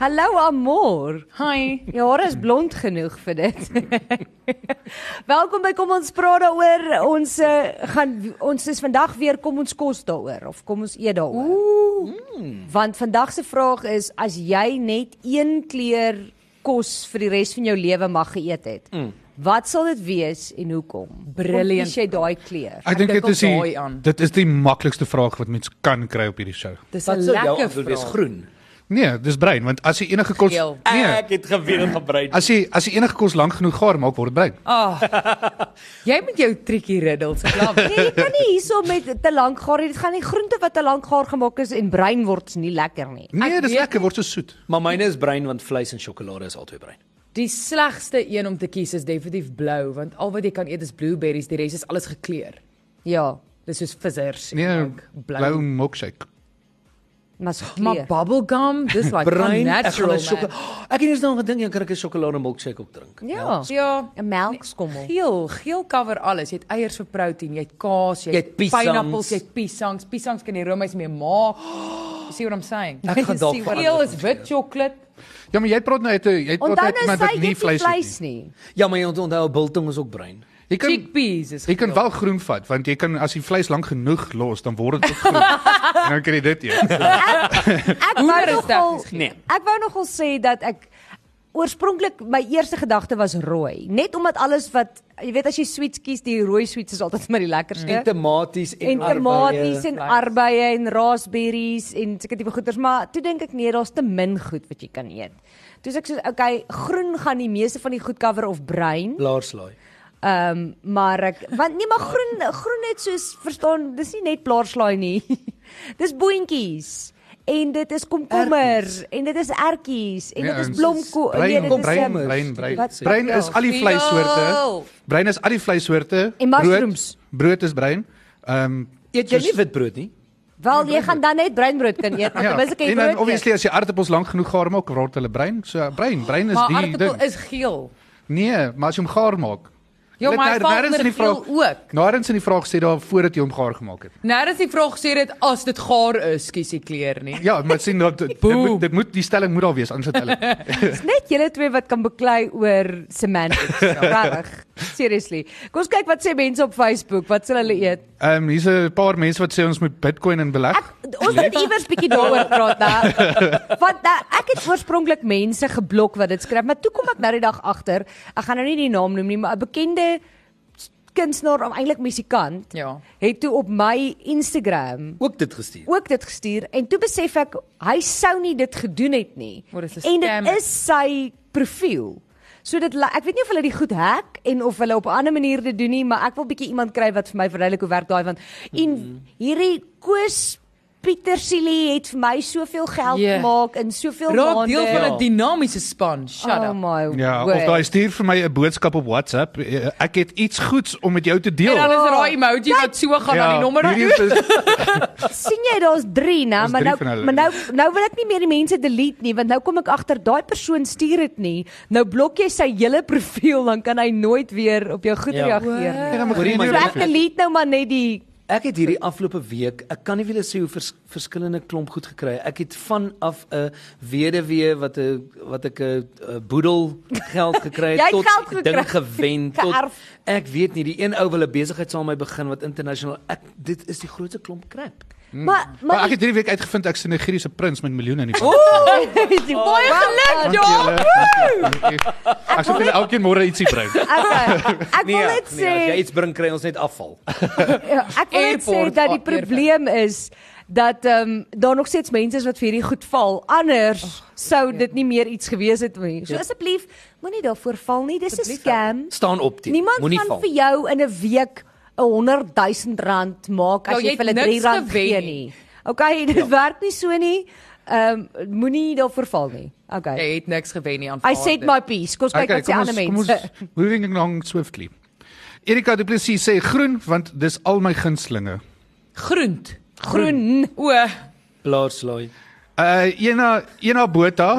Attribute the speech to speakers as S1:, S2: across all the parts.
S1: Hallo Amor.
S2: Hi.
S1: Jou hare is blond genoeg vir dit. Welkom by kom ons praat daaroor. Ons eh, gaan ons is vandag weer kom ons kos daaroor of kom ons eet daaroor. Mm. Want vandag se vraag is as jy net een kleur kos vir die res van jou lewe mag geëet het. Wat sal dit wees en hoekom?
S2: Brilliant.
S1: Kies jy daai kleur?
S3: Ek dink
S2: dink
S3: dit
S2: ook
S3: is die,
S2: daai aan.
S3: dit is die maklikste vraag wat mens kan kry op hierdie show.
S2: Dis 'n
S4: Wat sou jou
S2: lekker
S4: antwoord wees?
S2: vraag.
S4: Groen.
S3: Nee, dis brein want as jy enige kos
S2: Geel.
S3: nee,
S4: Ek het geweet gebruik.
S3: as jy as jy enige kos lank genoeg gaar maak word dit brein.
S2: Ah. Jy met jou triekie riddels, ek glo.
S1: Nee, jy kan nie hierso met te lank gaar hê. Dit gaan nie groente wat te lank gaar gemaak is en bruin word nie lekker nie.
S3: Nee,
S2: Ek
S3: dis
S2: weet-
S3: lekker word so soet.
S4: Maar myne is brein want vleis en sjokolade is albei brein.
S2: Die slegste een om te kies is definitief blou, want al wat jy kan eet is blueberries, die res is alles gekleur.
S1: Ja,
S2: Dis soos vissers. en
S3: Nee,
S2: ook
S3: blou milkshake.
S1: maar so
S2: Maar bubblegum, dis like
S4: Brein, ek gaan 'n
S2: unnatural.
S4: sjokolade. Oh,
S2: man.
S4: Ek het eers daaraan gedink jy kan ek 'n sjokolade milkshake ook drink.
S1: Ja,
S2: Ja,
S1: 'n melkskommel.
S2: geel, geel cover alles. Jy het eiers vir proteïen, jy het kaas, jy
S4: Jy
S2: het
S4: het piesangs.
S2: pineappels, jy het piesangs. Piesangs kan jy roomys mee maak. You see what I'm saying?
S4: Ek gaan dalk
S2: See what-
S4: verander
S2: Geel is
S4: van
S2: wit sjokolade.
S3: Ja, maar jy praat nou uit 'n jy praat
S1: Onthou
S3: uit
S1: nou
S3: iemand
S1: sy
S3: wat
S1: eet
S3: nie
S1: nie
S3: vleis
S1: vleis
S3: eet nie.
S1: nie.
S4: Ja, maar jy moet onthou biltong is ook brein.
S3: Jy kan
S2: Chickpeas is
S3: jy kan wel groen vat want jy kan as jy vleis lank genoeg los dan word dit ook groen. en dan kry jy dit eet.
S1: Ek
S2: Hoender
S1: wou
S2: is
S1: nogal Nee.
S2: tegnies
S4: geen-
S1: ek wou nogal sê dat ek oorspronklik my eerste gedagte was rooi, net omdat alles wat jy weet as jy sweets kies, die rooi sweets is altyd maar die lekkerste.
S4: En tomaties Ja. en
S1: en tomaties en
S2: vleis.
S1: arbeie en raspberries en sulke tipe goeders, maar toe dink ek nee, daar's te min goed wat jy kan eet. Toe is ek so, okay, groen gaan die meeste van die goed cover of bruin.
S4: blaarslaai.
S1: Ehm um, maar ek want nee maar groen groen net soos verstaan dis nie net blaarslaai nie. dis boontjies en dit is komkommer en dit is ertjies en dit is blomkool. Nee, dit
S3: Brein,
S1: is
S3: brein,
S1: ehm,
S3: brein, brein.
S1: wat- Ja.
S3: Brein is al die vleissoorte. Brein is al die vleissoorte.
S1: En mushrooms.
S3: Brood, brood is brein. Ehm um,
S4: Eet jy nie witbrood nie?
S1: Wel jy gaan dan net breinbrood kan eet. want
S3: Ja,
S1: ten minste kan jy
S3: en dan
S1: brood. eet.
S3: obviously as jy aartappels lank genoeg gaar maak, word hulle brein. So brein, brein is
S2: Maar
S3: die ding.
S2: aartappel is geel.
S3: Nee, maar as jy hom gaar maak.
S2: Ja,
S3: Dit
S2: maar hy
S3: ner-
S2: val
S3: nergens
S2: onder
S3: in die
S2: geel ook.
S3: Narens in die vraag sê daar voordat jy hom gaar gemaak het.
S2: Nou is die vraag sê dit as dit gaar is, kies die kleur nie.
S3: Ja, maar sien dat dit dit moet dit moet die stelling moet daar wees anders het hulle.
S1: Dis net julle twee wat kan beklei oor semantics.
S3: Ja.
S1: Regtig. Seriously. Kom ons kyk wat sê mense op Facebook, wat sal hulle eet?
S3: Ehm um, hier's 'n paar mense wat sê ons moet Bitcoin in beleg.
S1: Ek ons het iewers bietjie daaroor praat nou. Want nou, ek het oorspronklik mense geblok wat dit skryf, maar toe kom ek nou die dag agter, ek gaan nou nie die naam noem nie, maar 'n bekende kunstenaar, of eintlik musikant,
S2: Ja.
S1: het toe op my Instagram
S4: Ook dit gestuur.
S1: ook dit gestuur en toe besef ek hy sou nie dit gedoen het nie.
S2: Maar dit is 'n
S1: en
S2: scammer.
S1: dit is sy profiel. So dit la- ek weet nie of hulle die goed hack en of hulle op 'n ander manier dit doen nie, maar ek wil bietjie iemand kry wat vir my verduidelik hoe werk daai want en
S2: Mhm.
S1: hierdie Koos Pieter Silly het vir my soveel geld
S2: Ja.
S1: yeah. gemaak in soveel
S2: Raak
S1: maande.
S2: deel van
S4: Ja.
S2: 'n dinamiese span. Shut
S1: oh
S2: up.
S1: my.
S3: Ja,
S1: word.
S3: of daai stuur vir my 'n boodskap op WhatsApp. Eh, Ek het iets goeds om met jou te deel. Ja,
S2: En dan is daai emoji wat so gaan aan die nommer.
S3: hierdie is
S1: sien jy daar's 3, né?
S3: Daar's
S1: Maar nou
S3: drie van hulle.
S1: maar nou nou wil ek nie meer die mense delete nie, want nou kom ek agter daai persoon stuur dit nie. Nou blok jy sy hele profiel, dan kan hy nooit weer op jou goed
S4: Ja.
S1: reageer nie.
S3: en dan begin jy
S4: Hoorie,
S1: So
S4: maar
S3: nou-
S1: ek delete nou maar net die
S4: Ek het hierdie afgelope week, ek kan nie vir julle sê hoe vers, verskillende klomp goed gekry. Ek het vanaf 'n weduwee wat 'n wat ek 'n 'n boedel geld gekry
S1: Jy
S4: het
S1: het
S4: tot
S1: geld gekry.
S4: ding gewen tot
S1: Geërf.
S4: ek weet nie, die een ou wil 'n besigheid saam met my begin wat internasionaal. Ek dit is die grootste klomp crap.
S1: maar
S3: Hmm. Maar ek
S1: maar
S3: het hierdie week uitgevind ek's 'n Nigeriese prins met miljoene in die bank.
S1: die
S4: Oh,
S1: baie geluk.
S3: Dankie
S2: ja,
S3: julle. Dankie. As ek vir elkeen môre ietsie bring.
S1: Ek ek wil net
S4: nee, as jy
S1: sê
S4: iets bring kry ons net afval.
S1: ja, ek wil net sê dat
S2: Airport
S1: die
S2: airport.
S1: probleem is dat ehm um, daar nog steeds mense is wat vir hierdie goed val. Anders sou dit nie meer iets gewees het nie. So
S4: Ja.
S1: asseblief moenie daarvoor val nie. Dis 'n
S2: Asseblief,
S1: scam.
S4: Staan op teen.
S1: Niemand
S4: Moenie
S1: gaan
S4: val.
S1: vir jou in 'n week 'n 100 000 rand maak as
S2: Ja,
S1: jy
S2: jy het
S1: vir hulle 3
S2: niks
S1: rand
S2: gewen
S1: gee
S2: nie.
S1: nie. Okay, dit ja. werk nie so nie. Ehm um, moenie daarvoor val nie. Okay.
S2: Jy het niks gewen nie aan.
S1: I said my piece. Kom ons kyk
S3: Okay,
S1: wat sê
S3: kom
S1: ander
S3: ons, kom ons
S1: mense.
S3: moving along swiftly. Erika Du Plessis sê groen want dis al my gunstelinge.
S2: groent.
S1: Groen.
S2: O,
S4: Blaarslaai.
S3: Uh Ena Ena Botha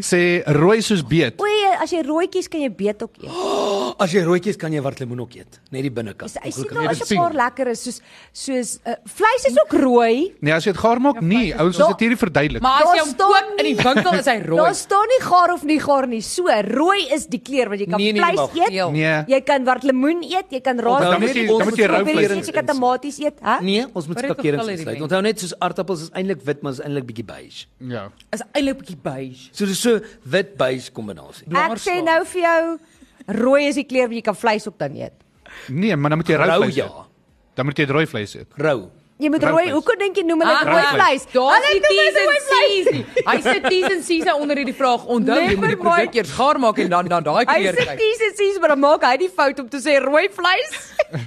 S3: sê rooi soos beet.
S1: Oei, as jy rooi kies kan jy beet ook eet.
S4: As jy rooitjies kan jy wat lemoen ook eet, net die binnekant.
S1: Is jy sien
S4: Ongelukkig.
S1: nou as
S3: dit
S1: 'n paar
S3: sien.
S1: lekker is soos soos uh, vleis is ook rooi.
S3: Nee, as jy dit gaar
S1: Ja,
S3: maak, nee, ouens, ons het hierdie verduidelik.
S2: Maar as
S1: Daar
S2: jy hom
S1: staan
S2: koop in die winkel is hy rooi.
S1: Daar staan nie gaar of nie gaar nie. So rooi is die kleur wat jy kan
S4: Nee, nee,
S1: vleis
S4: wag.
S1: eet.
S2: Nee.
S3: Nee.
S1: Jy kan wat lemoen eet, jy kan raas.
S3: Dan moet jy- dan moet jy rou vlees
S1: eet, jy kan tomaties eet, hè?
S4: Nee, ons moet
S2: Wat het
S4: skakerings
S2: verskil hierdie
S4: sluit.
S2: mense?
S4: Onthou net soos aartappels is eintlik wit, maar is eintlik bietjie beige.
S3: Ja.
S2: Is eintlik 'n bietjie beige.
S4: So dis so wit beige kombinasie.
S1: Ek sê nou vir jou rooi is die kleur wat jy kan vleis op dan eet.
S3: Nee, maar dan moet jy rou
S4: Rou
S3: vleis
S4: ja,
S3: eet. Dan moet jy rooi vleis eet.
S4: rou.
S1: Jy moet
S3: Rou
S1: rooi,
S3: vleis. Ah,
S1: hoekom dink jy noem hulle dit rooi vleis?
S2: Daar's Ah, die
S1: noem
S2: T's
S1: dit
S2: en
S1: rooi vleis.
S2: C's nie. Hy sit T's en C's nou onder hierdie vraag. Onthou, jy moet die
S1: Never mind.
S2: produk eers gaar maak en dan dan
S1: Hy
S2: daai kleur
S1: sê
S2: kry.
S1: T's en C's, maar dan maak hy die fout om te sê rooi vleis.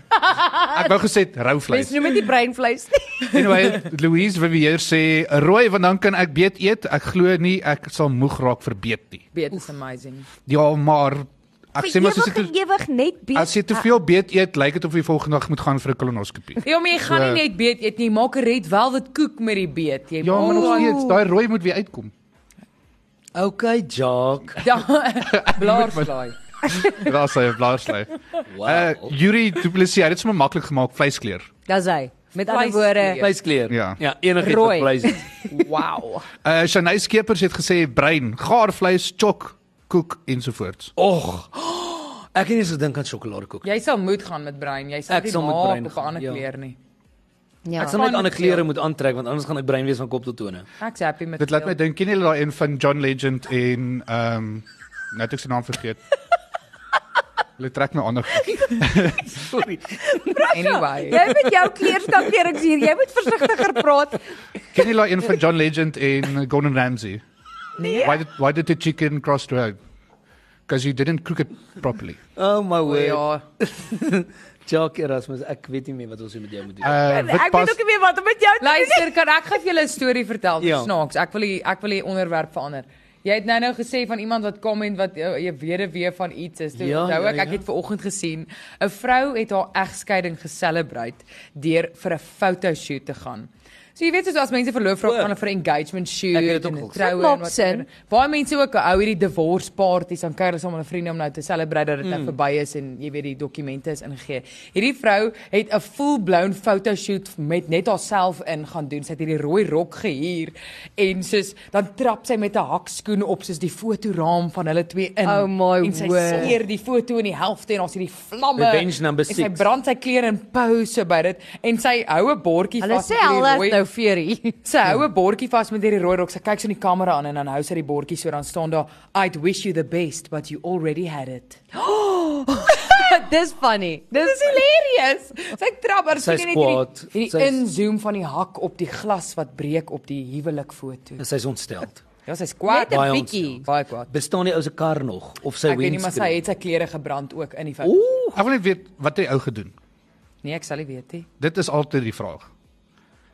S1: Ah,
S3: Ek wou gesê rou
S1: Mens
S3: vleis.
S1: noem dit nie breinvleis nie.
S3: Anyway, Louise Vivier sê rooi want dan kan ek beet eet. Ek glo nie ek sal moeg raak vir beet nie.
S2: Beet is amazing.
S3: Ja, maar ek sê maar soos
S1: Vir
S3: ek
S1: ewig en ewig net beet.
S3: As jy te veel beet eet, lyk dit of jy volgende dag moet gaan vir 'n kolonoskopie.
S2: Ja, maar jy gaan
S3: So-
S2: nie net beet eet nie, jy maak 'n red wel wat koek met die beet. Jy
S3: Ja, maar
S2: maak
S3: nog
S2: dan-
S3: steeds, daai rooi moet weer uitkom.
S4: Okay, Jock.
S2: Ja, blaarslaai.
S3: Daar's hy, blaarslei.
S4: Wow.
S3: Uh
S4: Uh,
S3: Yuri Du Plessis, hy het dit sommer maklik gemaak, vleiskleur.
S1: Ah, Dis hy. Met ander
S2: Vleis
S1: woorde,
S2: kleur.
S4: Vleiskleur.
S3: Ja.
S4: Ja, enigiets
S1: Rooi.
S4: wat vleis is.
S2: Wow.
S3: Uh Shanay Skeepers het gesê brein, gaar vleis, chok, koek ensovoorts.
S4: Och. Ek het nie eens gedink aan sjokoladekoek.
S2: Jy sal moet gaan met brein. Jy sal
S4: Ek
S2: nie
S4: sal met
S2: maak
S4: brein
S2: op 'n
S4: gaan,
S2: ander
S4: ja.
S2: kleur nie.
S1: ja.
S4: Ek sal net
S2: Van
S4: ander
S2: kleur.
S4: klere moet aantrek want anders gaan ek brein wees van kop tot tone.
S2: Ek's happy met
S3: Dit laat my
S2: geel.
S3: dink, ken julle daai een van John Legend en ehm um, nou het ek sy naam vergeet. Hulle trek my aan.
S4: Sorry.
S2: anyway.
S1: Jy met jou kleurskakerings hier, jy moet versigtiger praat.
S3: Ken julle daai een van John Legend en Gordon Ramsay?
S1: Nee.
S3: Why did why did the chicken cross the road? Because you didn't cook it properly.
S4: Oh my
S2: O,
S4: word.
S2: Ja.
S4: Jock Erasmus, ek weet nie meer wat ons hier met jou moet doen.
S2: Ah.
S3: Uh wit
S1: Ek weet
S3: pas
S1: ook nie meer wat om met jou te doen. nie.
S2: Luister, kan ek gou vir julle 'n storie vertel?
S4: Ja.
S2: Ja. Snaaks. Ek wil die ek wil die onderwerp verander. Jy het nou nou gesê van iemand wat comment wat uh, jy weet weer van iets is. Toe ja,
S4: Ja,
S2: onthou
S4: ja,
S2: ek, ja, ek
S4: ja.
S2: het ver oggend gesien 'n vrou het haar egskeiding geselebreit deur vir 'n fotoshoot te gaan. So jy weet soos as mense verloof raak
S4: O.
S2: gaan vir 'n engagement shoot
S4: Ek het dit ook
S2: en 'n
S4: al
S1: gesien.
S2: troue
S1: Dit
S2: en
S1: maak
S2: wat
S1: sin.
S2: Baie mense ook hou hierdie divorce parties aan kuier saam met hulle vriende om nou te celebrate dat dit
S4: Mm.
S2: nou verby is en jy weet die dokumente is ingegee. Hierdie vrou het 'n full-blown photoshoot met net haarself in gaan doen. Sy het hierdie rooi rok gehuur en soos dan trap sy met 'n hakskoen op soos die fotoraam van hulle twee in.
S1: Oh my
S2: en sy
S1: word.
S2: seer die foto in die helfte en ons hierdie vlamme.
S4: Revenge number
S2: En sy
S4: six.
S2: brand sy klere in pose by dit en sy hou 'n bordjie vas.
S1: Hulle
S2: met
S1: sê
S2: hierdie
S1: hulle
S2: rooi-
S1: is nou fierie.
S2: Sy hou 'n bordjie vas met hierdie rooi rok. Sy kyk so in die kamera aan en dan hou sy die bordjie so dan staan daar I'd wish you the best but you already had it.
S1: Dis funny.
S2: Dis hilarious. Sy trap Ja, maar
S4: Sy
S2: sien jy
S4: is
S2: net hierdie,
S4: kwaad.
S2: hierdie
S4: Sy is-
S2: inzoom van die hak op die glas wat breek op die huwelikfoto.
S4: En sy's ontsteld.
S2: Ja, sy's
S1: Net
S2: kwaad.
S1: 'n
S4: Baie
S1: bietjie.
S2: Baie kwaad.
S4: Bestaan die ou se kar nog of sy
S2: Ek weet nie maar sy
S4: windscreen?
S2: het sy klere gebrand ook in die foto.
S4: Ooh,
S3: Ek wil net weet wat het hy ou gedoen.
S2: Nee, ek sal nie weet nie.
S3: Dit is altyd die vraag.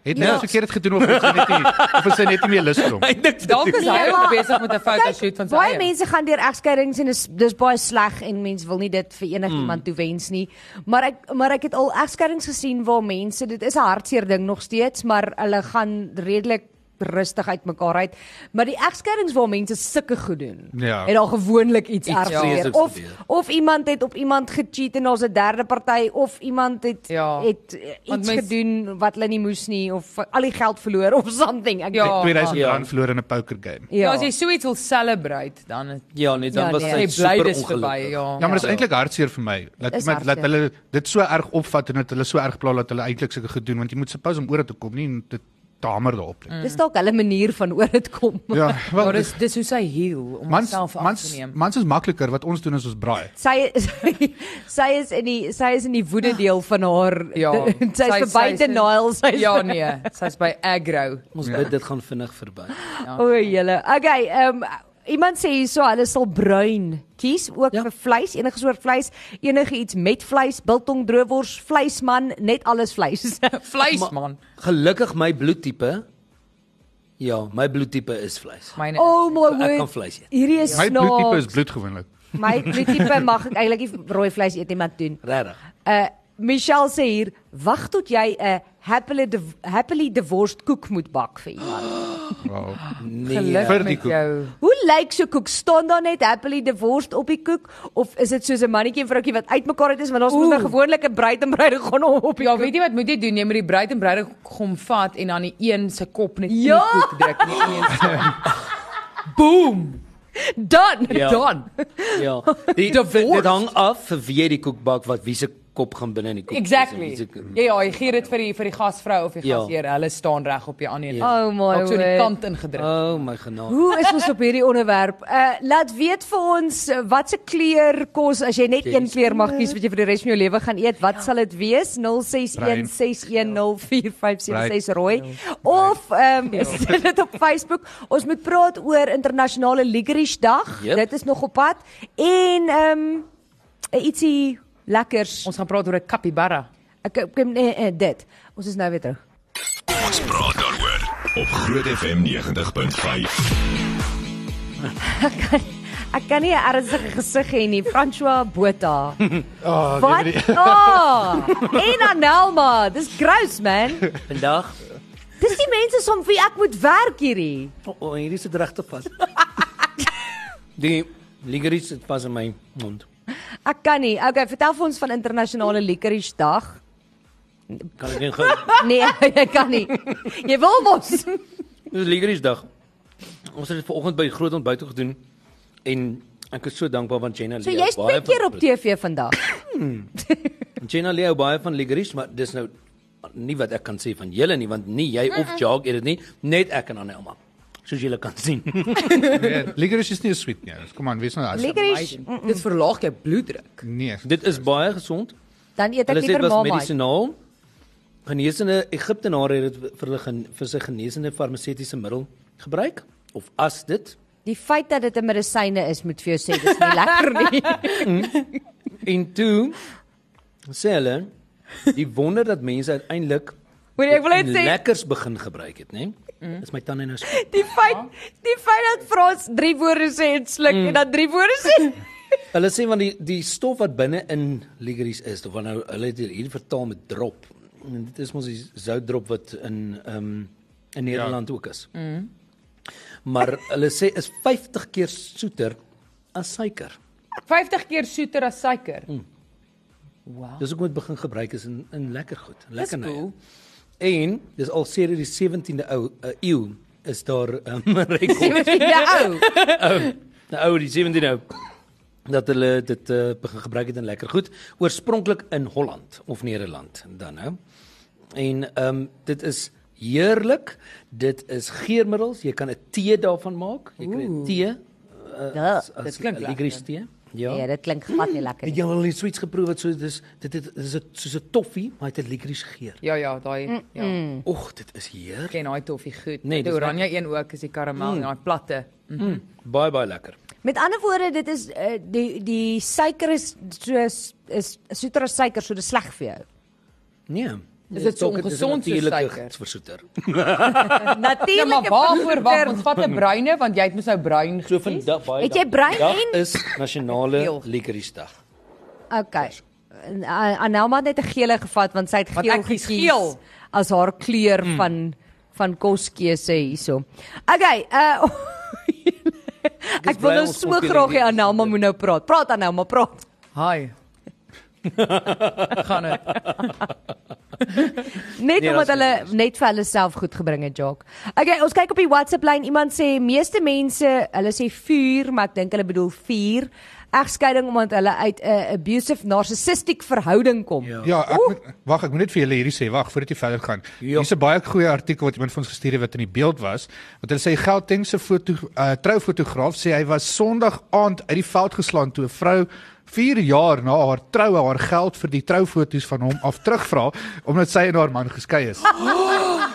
S3: Het
S1: Ja.
S3: nou verkeerd gedoen of het sy net nie of is hy net nie meer lus vir
S2: Ja.
S3: hom?
S4: niks te
S2: Dalk
S4: doen.
S2: is hy
S1: Nee,
S2: ook
S1: maar-
S2: besig met 'n fotoshoot van sy.
S1: Baie
S2: eie.
S1: mense gaan deur egskeidings en dis dis baie sleg en mense wil nie dit vir enigiemand mm. toewens nie. Maar ek maar ek het al egskeidings gesien waar mense dit is 'n hartseer ding nog steeds, maar hulle gaan redelik rustig uit mekaar uit. Maar die egskeidings waar mense sulke goed doen,
S3: Ja.
S1: het al gewoonlik iets,
S4: Iets
S1: iets ergs gebeur.
S4: vreselijks
S1: Of
S4: gebeur.
S1: of iemand het op iemand gecheat en daar's 'n derde party of iemand het
S2: Ja.
S1: het eh,
S2: Want
S1: iets
S2: mens-
S1: gedoen wat hulle nie moes nie of al die geld verloor of something. Ek
S2: Ja.
S1: weet-
S3: 2000
S4: Ja.
S3: rand verloor in 'n poker game.
S2: Ja, as jy so iets wil celebrate dan
S4: Ja, nee, dan
S1: Ja,
S4: was
S1: nee.
S4: hy
S2: jy bly
S4: super
S2: dis verby,
S4: ongelukkig.
S2: ja.
S3: Ja, maar dit is eintlik hartseer vir my dat
S1: Dis
S3: iemand dat
S1: hartseer.
S3: hulle dit so erg opvat en dat hulle so erg pla dat hulle eintlik seker gedoen want jy moet suppose om oor dit te kom nie en dit te hamer daarop
S2: Mm.
S3: nie.
S1: Dis dalk hulle manier van oor dit kom.
S3: Ja, wel
S2: Maar dis dis hoe sy heal om
S3: mans
S2: homself af te
S3: mans
S2: neem.
S3: mans is makliker wat ons doen is ons braai.
S1: Sy sy is in die sy is in die woede deel van haar
S2: Ja,
S1: sy is verby
S2: sy's
S1: te
S2: in-
S1: Nile sy is
S2: Ja nee, sy's by aggro.
S4: Ons bid dit gaan vinnig verby.
S1: O julle. Okay, ehm iemand sê hierso hulle sal bruin kies ook
S4: Ja.
S1: vir vleis, enige soort vleis, enige iets met vleis, biltong, droewors, vleisman, net alles vleis.
S2: Vleisman.
S4: Gelukkig my bloedtipe Ja, my bloedtipe is vleis.
S2: Myne. Oh.
S1: oh my
S4: Ek kan
S1: word.
S4: vleis eet.
S1: Hierdie is
S3: My bloedtipe is
S1: snaaks.
S3: bloed gewoonlik.
S1: My bloedtipe mag ek eintlik nie rooi vleis eet nie, maar doen.
S4: Regtig.
S1: Uh Michelle sê hier, wag tot jy 'n happily div- happily divorced koek moet bak vir iemand.
S3: Wow.
S4: Nee.
S2: Geluk
S3: Vir die
S2: met
S3: koek.
S2: jou.
S1: Hoe lyk so koek? Staan daar net happily divorced op die koek of is dit soos 'n mannetjie en vroukie wat uitmekaar uit is want ons moet nou
S2: Oeh.
S1: gewoonlik 'n bruid en bruidegom op op die
S2: Ja,
S1: koek.
S2: weet jy wat moet jy doen? Jy moet die bruid en bruidegom vat en dan die een se kop net
S1: Ja.
S2: in die koek druk en die een se Boom.
S1: Dan.
S4: Ja.
S2: Dan.
S4: Ja. Die, dit,
S2: Divorced.
S4: dit hang af vir wie jy die koekbak wat wie se kop gaan binne in die koek. is en
S2: Exactly.
S4: wie se-
S2: Ja ja, jy gee dit vir die vir die gasvrou of die
S4: Ja.
S2: gasheer. Hulle staan reg op die ander een.
S1: Oh my
S2: Dalk so die
S1: word.
S2: kant ingedruk.
S4: Oh my genade.
S1: Hoe is ons op hierdie onderwerp? Uh laat weet vir ons uh, watse kleur kos as jy net een kleur mag kies wat jy vir die res van jou lewe gaan eet, wat sal dit wees? 0616104576 rooi. Of ehm um, sien dit op Facebook. Ons moet praat oor internasionale licorice dag.
S4: Yep.
S1: Dit is nog op pad en ehm um, ietsie lekkers.
S2: Ons gaan praat oor 'n capybara.
S1: Ek ek nee, eh, dit. Ons is nou weer terug.
S5: Ons praat daaroor op Groot FM 90.5.
S1: Ek kan nie 'n ernstige gesig hê nie. François Botha.
S3: Oh,
S1: Wat?
S4: nee,
S1: Oh, en Anelma, dis gross man.
S4: Vandag
S1: Dis die mense som wie ek moet werk hierdie.
S4: O, oh, hierdie sit regte vas. die liggeries sit vas in my mond.
S1: Ek kan nie. Okay, vertel vir ons van internasionale licorice dag.
S4: Kan ek nie gou.
S1: Nee, jy kan nie. Jy wil mos.
S4: Ja, Dis liggeries dag. Ons het dit vanoggend by groot ontbyt ook gedoen en ek is so dankbaar want Jenna
S1: So jy's twee keer op TV vandag.
S4: Jenna Leo baie van liggeries, maar dis nou nie wat ek kan sê van julle nie want nie jy of Jag het dit nie, net ek en Anelma. Soos julle kan sien.
S3: Licorice Nee, is nie so sweet nie. ouens. Kom aan, wees nou as.
S1: Licorice, mm,
S2: Dit verlaag jou bloeddruk.
S3: Nee.
S4: dit is baie gesond.
S1: dan eet ek
S4: Hulle sê dit
S1: liever
S4: was
S1: mama.
S4: medisinaal. Geneesende Egiptenare het dit vir hulle gen, vir sy geneesende farmaseutiese middel gebruik of as dit
S1: Die feit dat dit 'n medisyne is, moet vir jou sê dis nie lekker nie.
S4: en toe sê hulle die wonder dat mense uiteindelik
S1: Hoor jy, ek wil net
S4: dit
S1: sê-
S4: in lekkers begin gebruik het, né? Nee? Mm. Is my tande nou so.
S1: Die feit, die feit dat Frans drie woorde sê en sluk en dan drie woorde sê.
S4: Hulle sê want die die stof wat binne in ligeries is, of wat nou hulle het hier vertaal met drop. En dit is mos die zoutdrop wat in ehm um, in Nederland ja. ook is. Mm. Maar hulle sê is 50 keer soeter as suiker.
S2: 50 keer soeter as suiker. Wow.
S4: Dis hoekom dit begin gebruik is in in lekker goed, lekker
S2: Oh. cool.
S4: En dis al sedert die 17de ou uh, eeu is daar 'n um, rekord.
S1: Ja, ou.
S4: Nou ou die 17 nou dat hulle dit uh, begin gebruik het in lekker goed, oorspronklik in Holland of Nederland dan nou. En ehm um, dit is heerlik. Dit is geurmiddels. Jy kan 'n tee daarvan maak. Jy kan 'n tee uh,
S1: Ja,
S2: dit klink lekker.
S4: liggeries tee. Ja.
S1: Nee, dit klink glad nie lekker
S4: Het
S1: nie.
S4: jy al iets sweets geproe wat so dis dit dit is 'n soos 'n toffee, maar dit het liggeries geur.
S2: Ja ja, daai ja.
S4: Och, dit is heerlik.
S2: Ken daai toffie goed. Nee,
S4: Nee,
S2: die
S4: dis
S2: oranje een ook is die karamel en daai platte.
S4: Mm. Baie baie lekker.
S1: Met ander woorde, dit is uh, die die suiker is soos is soeter as suiker, so dit is sleg vir jou.
S4: Nee.
S2: Is dit so
S4: Ook- is 'n
S2: ongezond soos
S4: natuurlike
S2: suiker?
S4: versoeter.
S2: Ja, maar
S1: Natuurlik.
S2: waarvoor wag ons vat 'n bruine want jy het mos nou bruin.
S4: So vandag baie.
S1: Het jy
S4: dankie.
S1: brein
S4: Vandag
S1: en-
S4: is nasionale
S2: Heel.
S4: liekeriesdag.
S1: Okay. En, uh, Anelma het net 'n gele gevat want sy het
S2: Want
S1: geel
S2: ek kies
S1: gekies
S2: geel.
S1: as haar kleur mm. van van koskeuse hierso. Okay, uh
S4: is
S1: Ek wil
S4: bly
S1: nou
S4: ons
S1: so
S4: kon
S1: graag hê
S4: hierdie-
S1: Anelma moet nou praat. Praat Anelma, praat.
S2: Hi. Gaan dit.
S1: Net
S4: Nee,
S1: nee, omdat
S4: dat is
S1: hulle
S4: goed.
S1: net vir hulle self goed gebring het, Jock. Okay, ons kyk op die WhatsApp lyn. Iemand sê meeste mense, hulle sê vuur, maar ek dink hulle bedoel vuur. Egskeiding omdat hulle uit 'n abusive narcissistic verhouding kom. Ja.
S3: Ja, ek moet- wag, ek moet net vir julle hierdie sê, wag voordat jy verder gaan.
S4: Ja.
S3: Hier's 'n baie goeie artikel wat iemand vir ons gestuur het wat in die beeld was. Wat hulle sê Gauteng se foto uh, troufotograaf sê hy was Sondag aand uit die veld geslaan toe 'n vrou 4 jaar na haar troue haar geld vir die troufoto's van hom af terugvra omdat sy en haar man geskei is.
S4: Nee.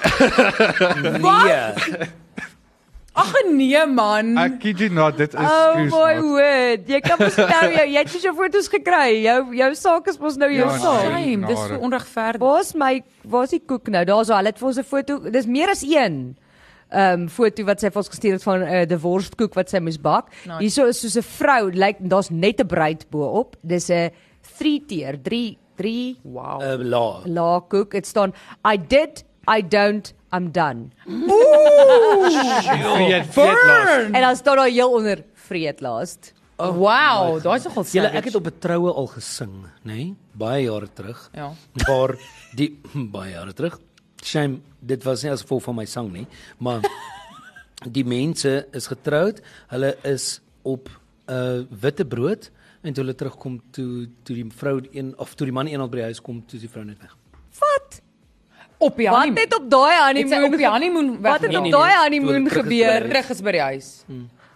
S2: Ag nee man.
S3: Ek kid you not, dit is
S1: Oh
S3: gruus,
S1: my
S3: maat.
S1: word. Jy kan mos nou jou jy het nie jou foto's gekry. Jou jou saak is mos nou jou
S3: Ja,
S1: saak.
S3: nee.
S2: Shame, dis so
S3: genade.
S2: onregverdig.
S1: Waar's my waar's die koek nou? Daar's al, hulle het vir ons 'n foto. Dis meer as een. Ehm um, foto wat sy vir ons gestuur het van 'n uh, divorcekoek wat sy moes bak.
S2: Nice.
S1: Hierso is soos 'n vrou, lyk like, daar's net 'n bruid bo-op. Dis 'n 3-tier, 3 3
S2: Wow.
S4: Uh, la.
S1: la koek. Dit staan I did, I don't, I'm done.
S3: Vreet, vreet laas.
S1: En dan staan daar heel onder vreet laast.
S2: Oh, wow, daai's nogal
S4: Julle
S2: savage.
S4: ek het op 'n troue al gesing, nê? Nee? Baie jare terug.
S2: Ja.
S4: Waar die baie jare terug. Shame, dit was nie as gevolg van my sang nie, maar die mense is getroud. Hulle is op 'n uh, witte brood en toe hulle terugkom toe toe die vrou een of toe die man eendag by die huis kom, toe is die vrou net weg.
S1: Wat?
S2: op die
S1: Wat
S2: honeymoon.
S1: het op daai
S2: Dit sy
S1: honeymoon?
S2: op die honeymoon
S1: Wat het op
S4: Nee, nee,
S2: weggeneem.
S1: daai
S4: nee.
S1: honeymoon
S4: Terug is by die
S1: gebeur?
S4: huis.
S2: terug is by die huis.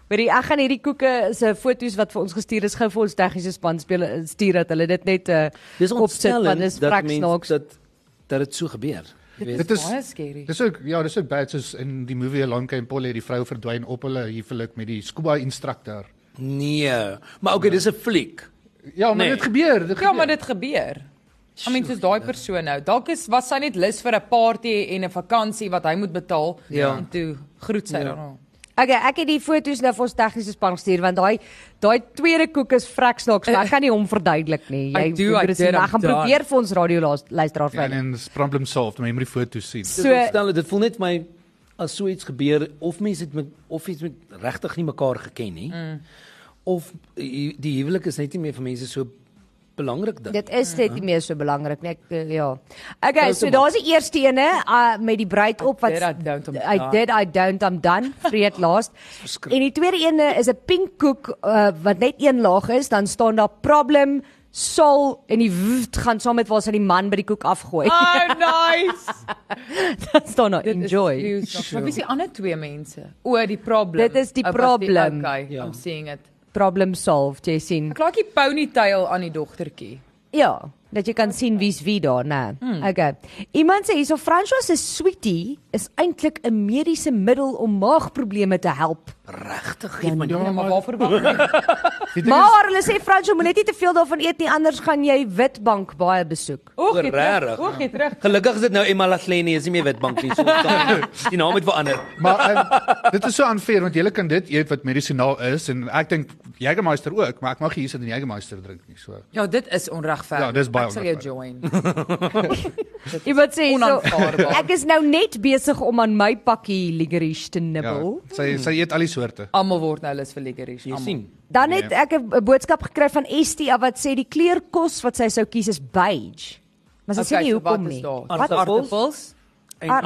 S1: Weet jy, ek gaan hierdie koeke se foto's wat vir ons gestuur is gou vir ons tegniese span spele stuur dat hulle dit net uh, opsit
S4: Dis
S1: want
S4: ontstellend
S1: dis
S4: dat
S1: vrek
S4: mense
S1: snaaks.
S4: dat dat dit so gebeur. Jy weet.
S3: Dit
S2: Baie
S3: is
S2: scary.
S3: Dis ook ja, dis ook bad soos in die movie Alonka en Polly die vrou verdwyn op hulle huwelik met die scuba instructor.
S4: Nee, maar okay, dis 'n fliek.
S3: Ja, maar
S4: Nee.
S3: nee. dit gebeur, dit
S2: Ja,
S3: gebeur.
S2: maar dit gebeur. I mean, soos daai persoon nou. Dalk is was sy net lus vir 'n party en 'n vakansie wat hy moet betaal.
S4: Ja.
S2: En toe groet sy
S4: Ja.
S2: dan. al.
S1: Okay, ek het die foto's nou vir ons tegniese span gestuur want daai daai tweede koek is vrek snaaks, maar ek kan nie hom verduidelik nie.
S2: Eh, I
S1: Jy
S2: do, I
S1: moet dit sien.
S2: did, I'm
S1: Ek gaan
S2: done.
S1: probeer vir ons radio laas- luisteraar
S3: Ja, en
S1: vind.
S3: en is problem solved, maar jy moet die foto's sien.
S4: Dit
S1: So-
S4: so, stel dit voel net my as so iets gebeur of mense het met of iets met regtig nie mekaar geken nie. Mm. Of die die huwelik is net nie meer vir mense so belangrik ding.
S1: Dit is net nie meer so belangrik nie. Ek eh, ja. Okay, so
S4: Foto
S1: daar's die eerste ene uh, met die bruid op wat
S2: did, I don't, I'm
S1: I
S2: done.
S1: did I don't I'm done. Vreet laas. en die tweede ene is 'n pink koek uh, wat net een laag is, dan staan daar problem sal en die wft gaan saam met waar sy die man by die koek afgooi. Ah,
S2: Oh, nice.
S1: dan staan daar
S2: Dit is
S1: enjoy.
S2: cute. Maar wie is die ander twee mense? O, die problem.
S1: Dit is die
S2: Oh, was
S1: problem.
S2: Okay,
S4: Ja.
S2: I'm seeing it.
S1: Problem solved, jy sien.
S2: Ek laat die ponytail aan die dogtertjie.
S1: Ja, dat jy kan sien wie's wie daar, né? Hmm. Okay. Iemand sê hierso François se sweetie is eintlik 'n mediese middel om maagprobleme te help.
S4: regtig nie, maar
S2: Ja, maar waarvoor wag jy?
S3: Die ding is-
S1: Maar hulle sê François moet net nie te veel daarvan eet nie, anders gaan jy Witbank baie besoek.
S2: Oeg, jy terug.
S4: Regtig?
S2: Oeg, jy terug.
S4: gelukkig is dit nou Emma Lasleni, is nie meer Witbank nie. So dan- die naam het verander.
S3: Maar um, dit is so unfair want jy kan dit eet wat medisonaal is en ek dink Jägermeister ook, maar ek mag nie hier sit en Jägermeister drink nie. So
S2: Ja, dit is onregverdig.
S3: Ja, dis baie
S2: Ek sal jou join.
S1: Iemand sê hierso
S2: Onaanvaarbaar.
S1: ek is nou net besig om aan my pakkie licorice te
S3: ja,
S1: nibbel. Ja.
S3: sy sy eet al die soorte.
S2: Almal word nou lus vir licorice.
S4: Jy
S2: almal.
S4: sien.
S1: Dan het ek 'n 'n boodskap gekry van Estia wat sê die kleur kos wat sy sou kies is beige. Maar sy sê
S2: Okay,
S1: nie
S2: so wat
S1: hoekom
S2: is
S1: nie.
S2: daar?
S1: Wat
S4: Aardappels?
S2: Appels,
S4: En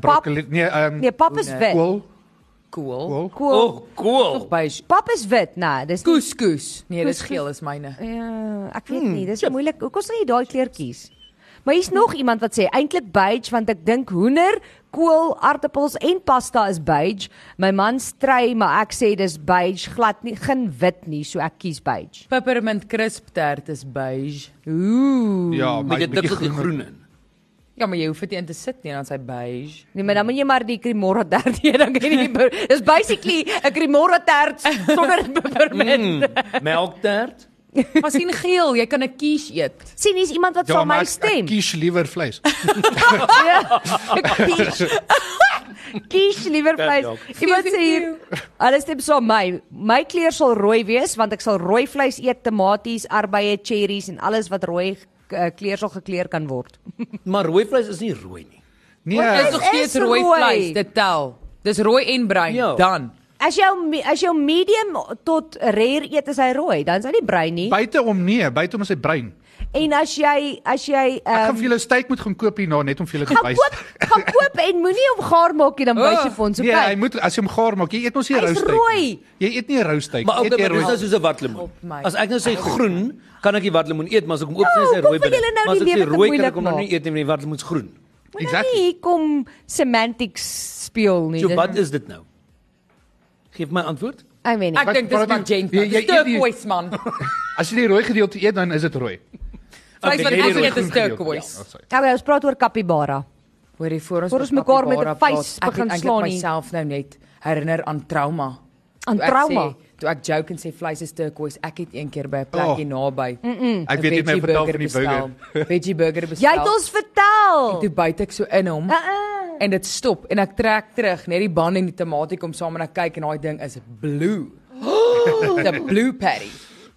S1: Pap.
S3: Broccoli, nee, ehm
S1: Nee,
S3: um,
S1: pap is wit.
S3: kool,
S2: kool,
S3: kool.
S1: Cool.
S4: O, cool.
S2: beige,
S1: Pap is wit, nee, dis nie-
S2: couscous. Nee, dis
S1: Couscous.
S2: geel is myne.
S1: Ja, ek weet
S3: Hmm.
S1: nie, dis moeilik. Hoekom sal jy daai kleur kies? Maar hier's nog iemand wat sê eintlik beige want ek dink hoender, kool, aartappels en pasta is beige. My man stry, maar ek sê dis beige, glad nie geen wit nie, so ek kies beige.
S2: Peppermint crisp tart is beige.
S1: Ooh.
S3: Ja,
S4: Met
S3: maar
S4: dit dikwels die groen in.
S2: Ja, maar jy hoef dit nie in te sit nie, dan is hy beige.
S1: Nee, maar dan moet jy maar die Cremora tart hê dan kan jy nie. Dis basically 'n Cremora tart sonder
S3: Hmm.
S1: peppermint. Mm.
S4: Melktert?
S2: Maar sien geel, jy kan 'n kies eet.
S1: Sien, hier's iemand wat ja,
S3: Ja,
S1: van
S3: maar
S1: my
S3: ek, ek
S1: stem.
S3: kies liewer vleis.
S1: Ja. Kies. Kies liewer vleis.
S4: Cat dog.
S1: Iemand sê hier,
S2: Thank
S1: alles stem saam my. My kleur sal rooi wees want ek sal rooi vleis eet, tomaties, arbeie, cherries en alles wat rooi eh, kleur sal gekleur kan word.
S4: Maar rooi vleis is nie rooi nie.
S3: Nee,
S2: Dis nog
S1: is
S2: steeds rooi
S1: rooi.
S2: vleis, dit tel. Dis rooi en bruin.
S4: Ja.
S2: Dan.
S1: As jou me- as jou medium tot rare eet is hy rooi, dan is hy nie bruin nie.
S3: buite hom nee, buite hom is hy bruin.
S1: En as jy as jy
S3: Ek gaan
S1: ehm
S3: vir julle steak moet gaan koop hierna net om vir julle te
S1: gaan
S3: wys.
S1: koop, gaan koop en moenie hom gaar maak nie dan wys jy vir ons
S3: Nee, hy
S1: okay.
S3: moet as jy hom gaar maak, jy eet mos nie
S1: Hy is
S3: rou steak. nie. Jy eet nie rou steak.
S4: Maar
S3: jy
S4: okay,
S3: eet
S4: maar
S3: nie
S4: dis nou
S3: rou.
S4: soos 'n watlemoen. As ek nou sê groen, kan ek die watlemoen eet, maar as ek hom oop sien is hy
S1: Ja, hoekom
S4: rooi
S1: wil julle nou
S4: binne. Maar as
S1: die
S4: ek sê
S1: lewe te
S4: rooi kan
S1: moeilik
S4: ek hom nou
S1: maak?
S4: nie eet nie, want die watlemoen is groen.
S1: Moenie
S3: Exactly.
S1: hier kom semantics speel nie.
S4: So
S1: Dit-
S4: wat is dit nou? Geef my antwoord.
S1: Ek weet nie.
S2: Ek dink dis
S3: praat jy-
S2: magenta.
S3: jy- jy eet die-
S2: Turquoise man.
S3: As jy die rooi gedeelte eet, dan is dit rooi.
S2: Vleis wat
S4: jy
S2: ek
S4: rooi
S2: eet is
S3: Groen gedeelte.
S2: turquoise.
S3: Ja, sorry.
S1: Nou ja, ons praat oor capybara.
S2: Hoorie voor ons
S1: Voor ons
S2: oor
S1: mekaar met 'n
S2: capybara
S1: vuis
S2: praat,
S1: begin
S2: ek
S1: slaan
S2: het
S1: nie.
S2: myself nou net herinner aan trauma.
S1: Aan
S2: Toe ek
S1: trauma?
S2: Sê, toe ek joke en sê vleis is turquoise, ek het een keer by 'n plek
S3: Oh.
S2: hier naby.
S3: Ek weet net my vertel van die burger.
S2: Veggie burger bestel.
S1: Jy het ons vertel.
S2: toe byt ek so in hom
S1: Uh -uh.
S2: en dit stop en ek trek terug, net die band en die tamatie kom saam en ek kyk en daai ding is blue. It's a blue patty.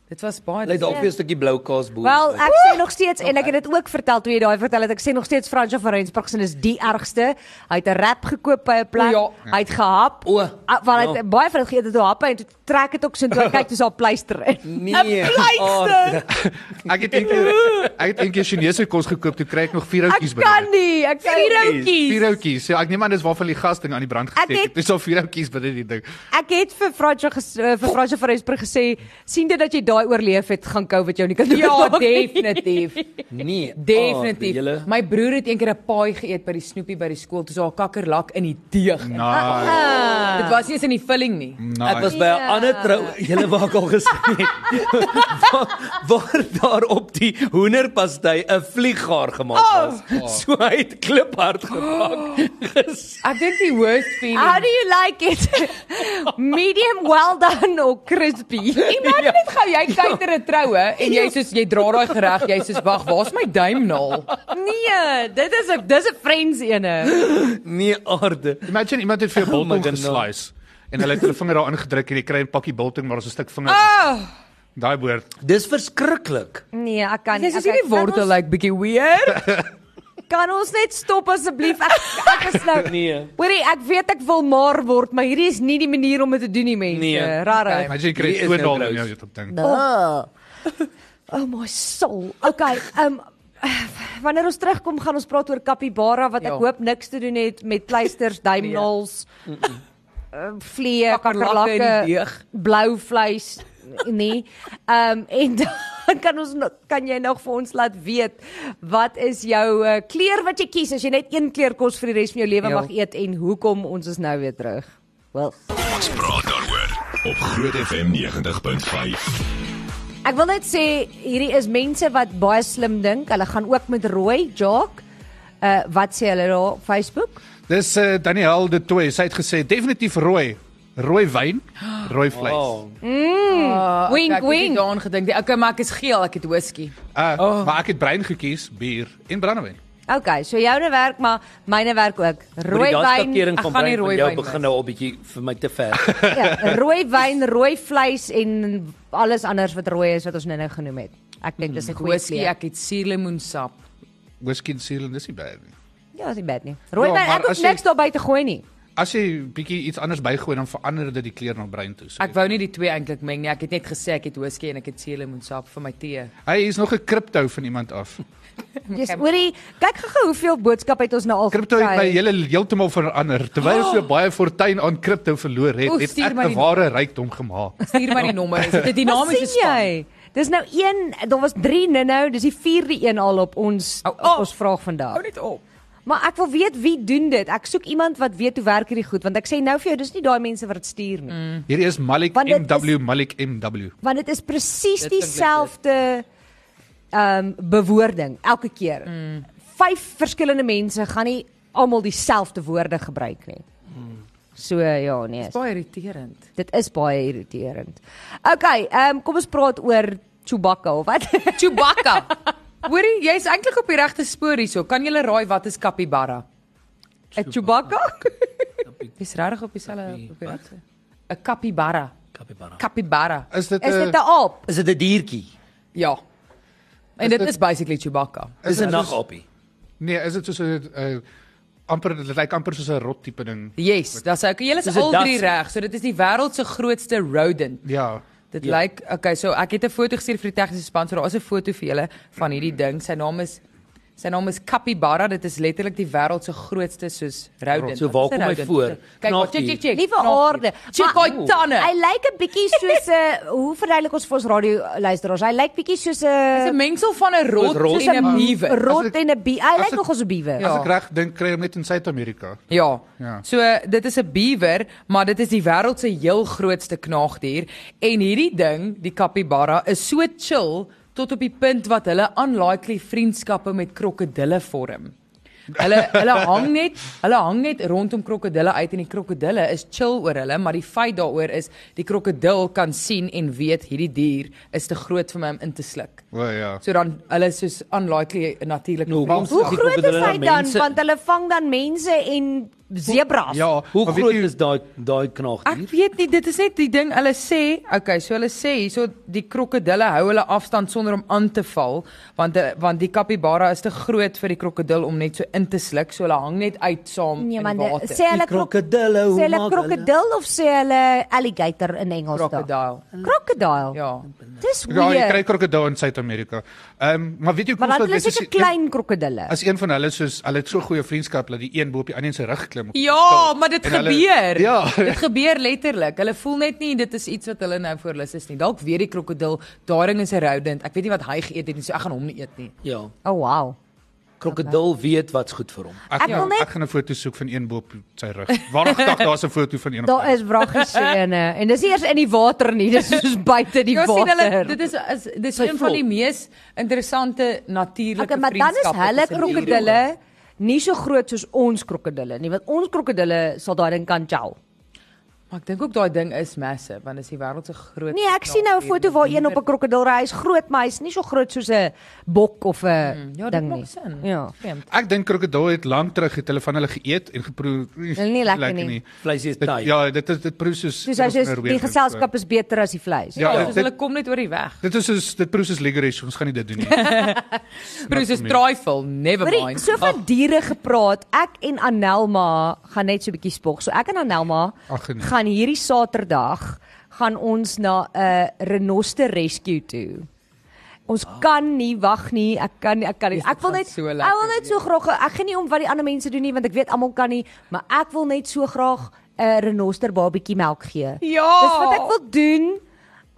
S2: Dit was baie
S4: Lê dalk weer 'n stukkie blou kaas bo.
S1: Wel, ek sê nog steeds en ek het dit ook vertel toe jy daai vertel het, ek sê nog steeds Fransjo van Rensburg se is die ergste. Hy het 'n rap gekoop by 'n plek.
S2: O, ja.
S1: Hy het gehap.
S4: O,
S1: Ah, Want hy het baie vinnig geëet het, toe happe en toe trek dit ook so en toe hy kyk dis al pleister in.
S4: nee.
S2: Pleister.
S3: Ek het eendag ek het eendag Chinese kos gekoop, toe kry ek nog vier
S1: Ek
S3: houtjies
S1: kan nie, ek kan
S2: Vier
S1: nie.
S2: houtjies.
S3: Vier houtjies. So ek neem aan dis waarvan die gas ding aan die brand
S1: Ek
S3: gesteek
S1: het-
S3: het. Dis al vier houtjies binne die ding.
S1: Ek het vir Fransjo ges- eh, vir Fransjo van Rensburg gesê, sien dit dat jy daai oorleef het, gaan COVID jou nie kan
S2: Ja,
S1: doodmaak nie."
S2: definitief.
S4: Nee.
S2: Definitief.
S4: Julle
S2: My broer het eendag 'n paai geëet by die snoepie by die skool, toe is haar kakkerlak in die deeg. in.
S3: Nice.
S1: Ah.
S2: Dit was nie eens in die vulling nie.
S4: Ek was
S3: Nice.
S4: by 'n ander trou,
S1: Ja.
S4: julle wou ek al gesien het. waar, waar daar op die hoenderpastei 'n vlieggaar gemaak
S1: Oh.
S4: was. So hy het kliphard gemaak. Ges-
S2: Ek dink die worst
S1: How
S2: feeling.
S1: do you like it? Medium well done or crispy?
S2: Imagine net gou jy kyk na 'n troue en jy soos jy dra daai gereg, jy soos wag, waar's my duimnaal?
S1: Nee, dit is 'n dis 'n friends ene.
S4: Nee aarde.
S3: Imagine iemand het vir 'n
S4: Oh my
S3: biltong
S4: goodness.
S3: geslice en hulle het hulle vinger daarin gedruk en jy kry 'n pakkie biltong maar daar's 'n stuk vinger.
S1: Oh!
S3: Daai boord.
S4: Dis verskriklik.
S1: Nee, ek kan nie.
S2: Dis is
S1: Ek-
S2: hierdie
S1: kan
S2: wortel like bietjie weird.
S1: Ons, kan ons net stop asseblief? Ek ek is nou
S4: Nee.
S1: Hoorie, ek weet ek wil maar word, maar hierdie is nie die manier om dit te doen nie, mense.
S4: Nee.
S1: Rarig.
S3: Imagine jy kry
S4: Hierdie is nou
S3: toonal in
S4: gross.
S3: jou dit op ding.
S2: Ah,
S1: Oh. oh my soul. Okay, um wanneer ons terugkom gaan ons praat oor capybara wat ek
S2: Ja.
S1: hoop niks te doen het met pleisters, duimnaels, uh, vliee,
S2: Kakkerlakke in die
S1: kakkerlakke,
S2: deeg.
S1: blou vleis, nee. Um en dan kan ons nog- kan jy nog vir ons laat weet wat is jou uh, kleur wat jy kies as jy net een kleur kos vir die res van jou lewe
S2: Ja.
S1: mag eet en hoekom ons is nou weer terug. Wel
S5: Ons praat daaroor op Groot FM 90.5.
S1: Ek wil net sê hierdie is mense wat baie slim dink. Hulle gaan ook met rooi jock. Uh wat sê hulle daar op Facebook?
S3: Dis eh, Danielle de Tooy. Sy het gesê definitief rooi. Rooi wyn, rooi vleis.
S4: Oh.
S2: Uh,
S1: Wink,
S2: ek het nie
S1: wink.
S2: daaraan gedink. nie. Okay, maar ek is geel, ek het whisky.
S3: Uh,
S2: Oh.
S3: maar ek het brein gekies, bier en brandewyn.
S1: Okay, so joune werk maar myne werk ook. Rooi wyn,
S4: Ek
S2: ek gaan nie rooi
S4: Jou
S2: wyn
S4: begin
S2: mis.
S4: nou al bietjie vir my te ver.
S1: ja, rooi wyn, rooi vleis en alles anders wat rooi is wat ons nou-nou genoem het. Ek dink
S3: Hmm,
S1: dis 'n goeie
S2: Whisky,
S1: kleur.
S2: ek het suurlemoensap.
S3: Whisky en seal en dis nie bad nie.
S1: Ja, dis nie bad nie. Rooi
S3: Ja,
S1: wyn,
S3: maar
S1: ek hoef
S3: as jy-
S1: niks daarby te gooi nie.
S3: As jy bietjie iets anders bygooi dan verander dit die kleur na bruin toe. So.
S2: Ek wou nie die twee eintlik meng nie. Ek het net gesê ek het whisky en ek het suurlemoensap vir my tee.
S3: Hy is nog 'n kripto van iemand af.
S1: Jy's hoorie, kyk gou hoeveel boodskap het ons nou al
S3: Kripto het my
S1: gekry.
S3: hele heeltemal verander. Terwyl ek so baie fortuin aan kripto verloor het,
S2: Oh. Oef,
S3: het
S2: stuur
S3: ek
S2: my
S3: 'n
S2: die- Hm.
S3: ware rykdom gemaak.
S2: Stuur my die nommer. Is dit 'n
S1: Wat
S2: dinamiese
S1: sien
S2: span?
S1: jy? Dis nou een, daar was 3 nou, dis die vierde een al op ons
S2: Au,
S1: op
S3: oh.
S2: au.
S1: ons vraag vandag.
S2: net op.
S1: Maar ek wil weet wie doen dit. Ek soek iemand wat weet hoe werk hierdie goed want ek sê nou vir jou, dis nie daai mense wat dit stuur nie. Mm.
S3: Hier is Malik
S1: Want dit is-
S3: MW Malik MW.
S1: Want dit is presies
S2: Dit klink
S1: dieselfde ehm bewoording elke keer. Vyf verskillende mense gaan nie almal dieselfde woorde gebruik nie. So ja, nee.
S2: Baie irriterend.
S1: Dit is baie irriterend. Okay, ehm kom ons praat oor Chewbacca of wat?
S2: Chewbacca. Hoorie, jy's eintlik op die regte spoor hierso. Kan jy raai wat is capybara?
S1: 'n Chewbacca?
S2: Jy's regtig op dieselfde op die regte. 'n Capybara.
S4: Capybara.
S2: Capybara.
S3: Is dit eh, 'n
S1: Is dit 'n aap?
S4: Is dit 'n diertjie?
S2: Ja. En dit is basically Chewbacca.
S4: Dis 'n nagappie.
S3: Nee, is dit soos 'n uh, amper dit lyk amper soos 'n rot tipe ding.
S2: Yes, dis ek. Julle
S4: Dis
S2: is
S4: 'n
S2: al drie
S4: das.
S2: reg. So dit is die wêreld se grootste rodent.
S3: Ja.
S2: Dit ja.
S4: Ja.
S2: lyk okay, so ek het 'n foto gestuur vir die tegniese span. So daar is 'n foto vir julle van hierdie
S4: Mhm.
S2: ding. Sy naam is sy naam is Capybara. Dit is letterlik die wêreld se grootste soos rodent.
S4: So,
S2: Wat is een
S4: waar kom hy
S2: rodent?
S4: voor?
S2: Kyk,
S4: Knaagdier.
S2: wat check check check.
S1: Liewe
S2: Knaagdier.
S1: aarde.
S2: Check
S1: maar-
S2: hy tande.
S1: Hy lyk 'n bietjie soos 'n hoe verduidelik ons vir ons radio luisteraars? Hy lyk bietjie soos 'n
S2: Dis 'n mengsel van 'n rot,
S4: rot
S2: en 'n beaver.
S1: Rot
S3: As ek-
S1: en 'n bie. Hy
S3: as
S1: lyk
S3: ek-
S1: nog ons 'n biewe.
S2: Ja.
S3: As ek reg dink kry hom net in Suid-Amerika.
S2: Ja.
S3: Ja.
S2: So dit is 'n beaver, maar dit is die wêreld se heel grootste knaagdier en hierdie ding, die capybara, is so chill tot op die punt wat hulle unlikely vriendskappe met krokodille vorm. Hulle hulle hang net, hulle hang net rondom krokodille uit en die krokodille is chill oor hulle, maar die feit daaroor is die krokodil kan sien en weet hierdie dier is te groot vir my om in te sluk.
S3: O ja.
S2: So dan hulle is soos unlikely natuurlik.
S4: Nou,
S2: vriendskap.
S4: hoekom
S1: Hoe
S4: Die
S1: groot is
S4: krokodille
S1: hy
S4: na
S1: dan?
S4: mense-
S1: Want hulle vang dan mense en zebras.
S3: Ja,
S4: Hoe
S3: maar weet
S4: groot
S3: jy-
S4: is daai daai
S2: Ek
S4: knaagdier?
S2: weet nie, dit is net die ding hulle sê, okay, so hulle sê hierso die krokodille hou hulle afstand sonder om aan te val, want eh, want die kapibara is te groot vir die krokodil om net so in te sluk, so hulle hang net uit saam
S1: Nee man,
S2: in
S1: de-
S2: water.
S1: sê hulle
S4: Die krokodille,
S1: krok-
S4: hoe
S1: sê hulle
S4: maak hulle-
S1: krokodil of sê hulle alligator in Engels daar?
S2: Crocodile.
S1: Krokodil.
S2: Ja.
S1: Dis
S3: Ja, jy kry
S1: weird.
S3: krokodil in Suid-Amerika. Ehm, maar weet jy
S1: Maar dan
S3: dit
S1: hulle
S3: is
S1: seker
S3: as-
S1: klein krokodille.
S3: as een van hulle soos hulle het so goeie vriendskap dat die een bo op die ander een se rug klim.
S2: Ja, maar dit
S3: En hulle-
S2: gebeur.
S3: Ja.
S2: Dit gebeur letterlik. Hulle voel net nie dit is iets wat hulle nou voor hulle is nie. Dalk weer die krokodil, daarin is 'n rodent. Ek weet nie wat hy geëet het nie, so ek gaan hom nie eet nie.
S4: Ja,
S1: Oh wow. nou?
S4: krokodil weet wat's goed vir hom.
S1: Ek
S3: Ek
S1: wil
S3: gaan
S1: net-
S3: ek gaan 'n foto soek van een bo op sy rug. Waarop dag daar's 'n foto van een op.
S1: Daar
S3: sy rug.
S1: is wraggies en en dis nie eers in die water nie, dis soos buite die
S2: Ja, sien hulle
S1: water.
S2: dit is is dis
S4: Sy
S2: een van
S4: vrou.
S2: die mees interessante natuurlike
S1: Okay, maar dan is
S2: vriendskappe
S1: hulle
S2: tussen diere.
S1: krokodille nie so groot soos ons krokodille nie, want ons krokodille sal daai ding kan chow.
S2: Maar ek dink ook daai ding is massive want dit is die wêreld se grootste.
S1: Nee, ek sien nou 'n foto
S4: Ja,
S1: waar een op 'n krokodil ry, hy's groot, maar hy's nie so groot soos 'n bok of 'n
S2: ja, dit
S1: ding
S2: maak
S1: nie.
S2: sin.
S1: Ja.
S2: vreemd.
S3: Ek dink krokodil het lank terug het hulle van hulle geëet en geproe.
S1: Hulle nie lekker nie.
S4: Vleis is
S3: Dit,
S4: taai.
S3: ja, dit is nou dit proe soos
S1: Soos hy
S3: soos
S2: nou
S1: sê, die
S3: Norwegians,
S1: geselskap is beter as die vleis.
S3: Ja,
S2: Ja,
S3: dit-
S2: soos hulle kom net oor die weg.
S3: Dit is soos dit proe soos ligerish, ons gaan nie dit doen nie.
S2: Bruce is trifle, never
S1: Hoorie,
S2: mind.
S1: so van diere gepraat. Ek en Anelma gaan net so 'n bietjie spog. So ek en Anelma
S3: Ag, nee.
S1: gaan hierdie Saterdag gaan ons na 'n renoster rescue toe. Ons kan nie wag nie. Ek kan nie, ek kan nie.
S2: Jees,
S1: Ek
S2: Ah. dit
S1: wil
S2: gaan
S1: net
S2: so
S1: ek wil
S2: lekker nee.
S1: net so graag ek gee nie om wat die ander mense doen nie want ek weet almal kan nie, maar ek wil net so graag 'n renoster babietjie melk gee.
S2: Ja.
S1: Dis wat ek wil doen.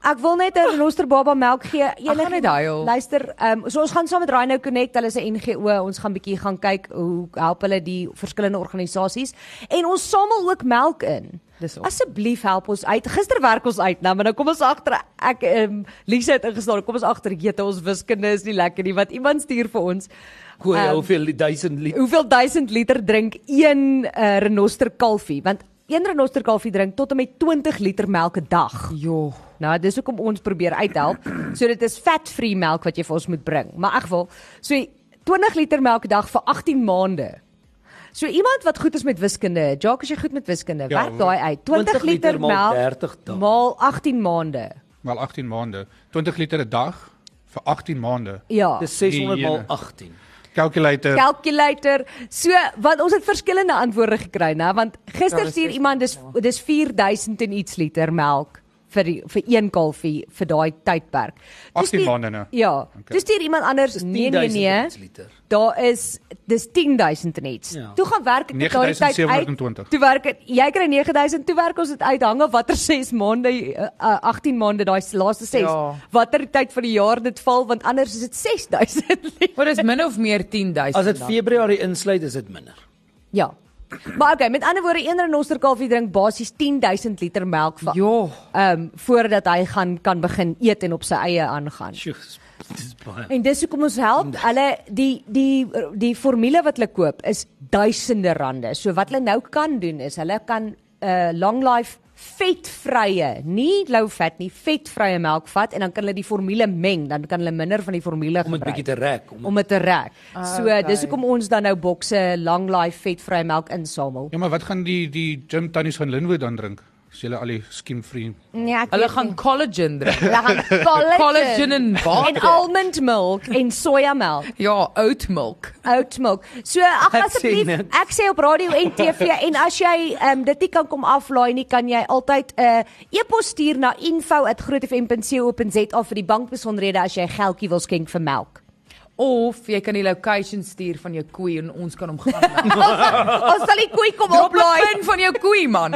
S1: Ek wil net 'n renoster baba melk gee.
S2: gaan
S1: Enige-
S2: net huil.
S1: Luister, ehm um, so ons gaan saam met Rhino Connect, hulle is 'n NGO, ons gaan bietjie gaan kyk hoe help hulle die verskillende organisasies en ons samel ook melk in.
S2: Dis op.
S1: Asseblief help ons uit. Gister werk ons uit nou, maar nou kom ons agter ek ehm um, Lisa het ingestaan. Kom ons agter jete ons wiskunde is nie lekker nie wat iemand stuur vir ons.
S4: Goeie,
S1: Ehm,
S4: hoeveel li- duisend liter?
S1: Hoeveel duisend liter drink een uh, renoster kalfie? Want een renoster kalfie drink tot en met 20 liter melk 'n dag.
S2: Jo.
S1: Nou, dis hoekom ons probeer uithelp. So dit is fat-free melk wat jy vir ons moet bring. Maar ek wil so 20 liter melk 'n dag vir 18 maande. So iemand wat goed is met wiskunde, Jacques, as jy goed met wiskunde,
S3: Ja,
S1: werk daai uit. 20,
S4: 20
S1: liter,
S4: liter maal
S1: melk
S4: 30 dae.
S1: maal 18 maande.
S3: Wel 18 maande, 20 liter 'n dag vir 18 maande.
S1: Ja.
S4: Dis 600
S3: Die
S4: maal
S3: ene.
S4: 18.
S3: Calculator.
S1: Calculator. So want ons het verskillende antwoorde gekry, né? Want
S2: Ja,
S1: gister
S2: dis
S1: stuur iemand dis dis 4000 en iets liter melk vir die, vir een kalfie vir daai tydperk. Toe
S3: 18
S1: stuur-
S3: maande nou.
S1: Ja.
S3: Okay.
S1: Dis stuur iemand anders
S4: Dis
S1: nee nee
S4: 10000
S1: nee.
S4: liter.
S1: Daar is dis 10000 en iets.
S4: Ja.
S1: Toe gaan werk ek met daardie tyd uit.
S3: 9720.
S1: Toe werk ek jy kry 9000, toe werk ons dit uit hang af watter 6 maande uh, uh, 18 maande daai laaste 6.
S2: Ja.
S1: Watter tyd van die jaar dit val want anders is dit 6000 liter.
S2: Maar dis min of meer 10000.
S4: As dit
S2: dan.
S4: Februarie insluit, is dit minder.
S1: Ja. Maar okay, met ander woorde, een renoster kalfie drink basies 10000 liter melk vir
S2: Jo.
S1: ehm voordat hy gaan kan begin eet en op sy eie aangaan.
S4: Sjoe, dis- dis baie.
S1: En dis hoekom ons help. Hulle die die die formule wat hulle koop is duisende rande. So wat hulle nou kan doen is hulle kan 'n uh, long life vetvrye, nie low fat nie, vetvrye melk vat en dan kan hulle die formule meng, dan kan hulle minder van die formule
S4: Om dit
S1: gebruik
S4: bietjie te rek om
S1: om dit te rek. So dis
S2: okay.
S1: hoekom ons dan nou bokse long life vetvrye melk insamel.
S3: Ja, maar wat gaan die die gym tannies van Linwood dan drink? As jy al die skim free.
S1: Nee, ek
S2: Hulle
S1: weet
S2: gaan collagen drink.
S1: Hulle gaan collagen,
S2: Collagen en
S1: en
S2: water.
S1: almond milk en sojamelk,
S2: Ja, oat milk.
S1: oat milk. So ag
S4: Ek sê
S1: asseblief,
S4: niks.
S1: ek sê op radio en TV en as jy um, dit nie kan kom aflaai nie, kan jy altyd 'n uh, e-pos stuur na info@grootefm.co.za vir die bankbesonderhede as jy geldjie wil skenk vir melk.
S2: Of jy kan die location stuur van jou koei en ons kan hom gaan.
S1: Ons sal die koei kom
S2: Drop 'n
S1: oplaai.
S2: pin van jou koei man.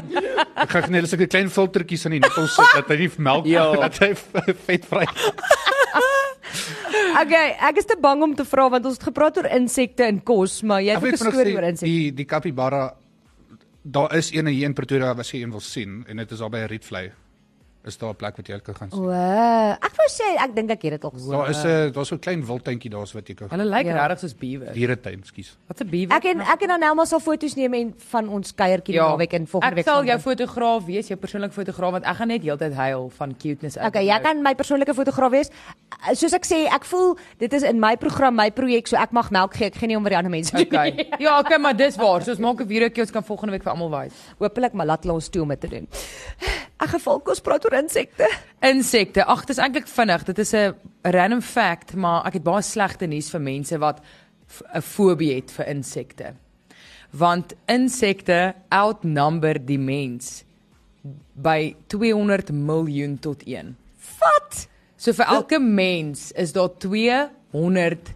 S3: Ek gaan net sulke klein filtertjies aan die nippels sit dat hy nie melk
S4: Ja.
S3: dat hy vetvry.
S1: Okay, ek is te bang om te vra want ons het gepraat oor insekte in kos, maar jy het
S3: Ek
S1: ook 'n
S3: weet nog
S1: storie oor
S3: sê
S1: insekte.
S3: die die capybara daar is een hier in Pretoria wat jy een wil sien en dit is daar by 'n rietvlei. Is daar 'n plek wat jy kan gaan sien?
S1: O, ek wou sê ek dink ek het dit al gehoor.
S3: Daar is 'n daar's so 'n klein wildtuintjie daar's wat jy kan
S2: Hulle lyk
S1: Ja.
S2: regtig soos bewe.
S3: dieretuin, skus.
S2: Wat 'n bewe.
S1: Ek en ek en Anelma sal foto's neem en van ons kuiertjie ja, naweek en volgende week.
S2: Ek sal
S1: gaan
S2: jou
S1: doen.
S2: fotograaf wees, jou persoonlike fotograaf want ek gaan net heeltyd huil van cuteness uit.
S1: Okay, jy
S2: jou.
S1: kan my persoonlike fotograaf wees. Uh, Soos ek sê, ek voel dit is in my program, my projek, so ek mag melk gee. Ek gee nie om wat die ander mense doen.
S2: Okay. Ja, okay, maar dis waar. So ons maak 'n videoetjie, ons kan volgende week vir almal wys.
S1: Hoopelik maar laat hulle ons toe om dit te doen. Ag geval, kom ons praat oor insekte.
S2: Insekte. Ag, dis eintlik vinnig. Dit is 'n random fact, maar ek het baie slegte nuus vir mense wat f- 'n fobie het vir insekte. Want insekte outnumber die mens by 200 miljoen tot 1.
S1: Wat?
S2: So vir elke mens is daar 200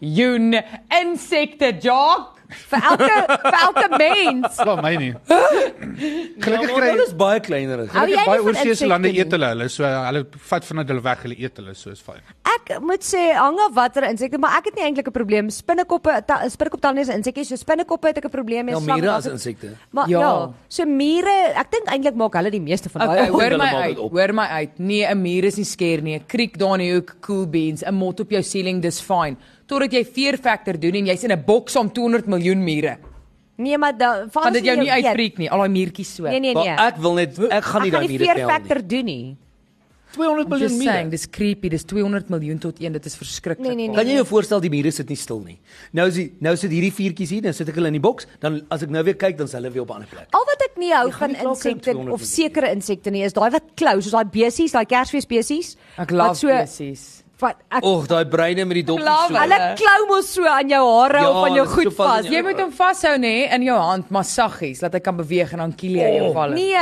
S2: miljoen insekte, Jock.
S1: Vir elke vir elke mens.
S3: Sla my nie. Gelukkig
S4: Ja,
S3: kry
S4: maar dit is baie kleiner as
S1: Hou
S3: Gelukkig
S1: jy nie
S3: baie
S1: van
S3: oorseese
S1: insekte
S3: lande
S1: nie?
S3: eet hulle hulle, so hulle vat van hulle weg, hulle eet hulle, so is fyn.
S1: Ek moet sê hang af watter insekte, maar ek het nie eintlik 'n probleem. Spinnekoppe, ta- spinnekoptande is 'n insekkie, so spinnekoppe het ek 'n probleem mee.
S4: Ja,
S1: slange
S4: mure
S1: maak
S4: as
S1: ek-
S4: insekte.
S1: Maar ja.
S2: Ja.
S1: ja, so mure, ek dink eintlik maak hulle die meeste van daai.
S2: Okay,
S4: hoor
S2: hoor
S4: hulle
S2: my
S4: maak
S2: uit.
S4: dit op.
S2: Hoor my uit. Nee, 'n muur is nie skeer nie. 'n Kriek daar in die hoek, cool beans, 'n mot op jou ceiling, dis fyn. Totdat jy fear factor doen en jy's in 'n boks om 200 miljoen mure.
S1: Nee, maar dan
S2: Gaan dit jou nie uitfreek nie, al daai muurtjies so.
S1: Nee nee nee.
S4: Maar ek wil net ek gaan nie daai mure
S1: fear
S4: tel nie.
S1: factor doen nie.
S4: 200
S2: I'm just
S4: miljoen mure.
S2: saying, dis creepy. Dis 200 miljoen tot 1. Dit is verskriklik.
S1: Nee, nee, nee.
S4: Kan jy jou voorstel die mure sit nie stil nie. Nou is die, nou sit hierdie viertjies hier, dan sit ek hulle in die boks, dan as ek nou weer kyk dan is hulle weer op 'n ander plek.
S1: Al wat ek nie hou
S4: Jy gaan
S1: van
S4: nie klaar kry om
S1: insekte
S4: 200
S1: of
S4: miljoen.
S1: sekere insekte nie is daai wat klou, soos daai besies, daai kersfees besies.
S2: Ek love
S1: nee. wat
S2: so, besies.
S1: Wat ek
S4: Och, daai breine met die doppies
S2: Klaar,
S4: Oh, so.
S1: hulle klou mos so aan jou hare
S4: Ja,
S1: of aan jou
S4: dit is
S1: goed
S4: so vas
S1: vas.
S4: in
S2: Jy moet hom vashou nê in jou hand, maar saggies, laat hy kan beweeg en dan kiel jy jou val.
S1: Nee.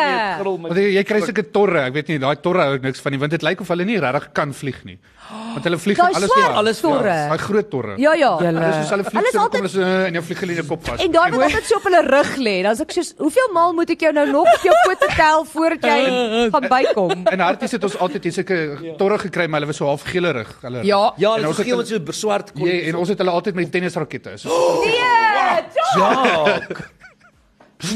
S3: Want jy, jy kry sulke torre, ek weet nie, daai torre hou ek niks van nie, want dit lyk of hulle nie regtig kan vlieg nie. Want hulle vlieg
S1: Daai
S3: in alles
S1: swart
S3: ja,
S1: alles torre.
S3: ja, Daai groot torre.
S1: Ja ja.
S2: Julle-
S3: Hulle soos hulle
S1: Hulle
S3: vlieg
S1: is
S3: so dan kom
S1: altyd-
S3: hulle so eh, en jou vlieg hulle in jou kop vas.
S1: En daai wat altyd so op hulle rug lê, dan is ek soos, hoeveel maal moet ek jou nou nog op jou pote tel voordat jy gaan bykom?
S3: En harties het ons altyd hier sulke
S1: Ja.
S3: torre gekry, maar hulle was so half geelerig. Hulle
S2: Ja.
S4: Ja,
S3: En
S4: hulle
S3: ons
S4: gee
S3: het-
S4: ons so swart kon.
S3: Jy, en ons het hulle altyd met tennisrakette. So,
S1: Nee, John,
S4: Ja.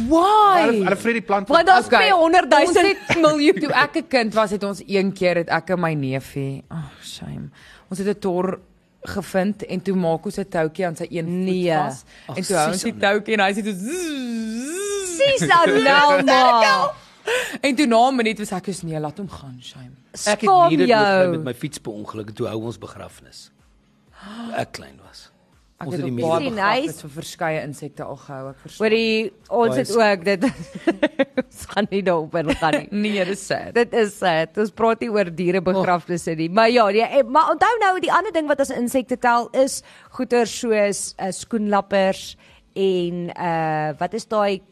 S2: Why?
S3: hulle hulle vret die plant.
S1: want daar's
S2: Okay.
S1: 200
S2: Ons
S1: 000
S2: het miljoen toe ek 'n kind was het ons een keer het ek en my neefie, ag oh, shame. Ons het 'n tor gevind en toe maak ons 'n toutjie aan sy een voet
S1: Nee.
S2: vas en toe hou ons die toutjie en hy sê toe zzz,
S1: presies nou maar.
S2: en toe na 'n minuut was ek soos nee, laat hom gaan, shame.
S4: Ek het nie
S1: Skaam
S4: dit nou
S1: jou.
S4: met met my fiets beongeluk toe hou ons begrafnis. Toe Ek klein was.
S2: Ek
S4: Ons
S2: het
S4: het die
S2: op
S4: mure
S2: baie
S1: Sien,
S4: begrawe.
S1: hy is-
S2: begrafnisse vir verskeie insekte al gehou, ek verstaan.
S1: Hoorie, ons
S4: Baie
S1: het ook dit ons gaan nie daarop in gaan nie.
S2: Nee, dis sad.
S1: Dit is sad. Ons praat nie oor diere begrafnisse nie. Maar ja, die, eh, maar onthou nou die ander ding wat as insekte tel is goeder soos uh, skoenlappers en uh wat is daai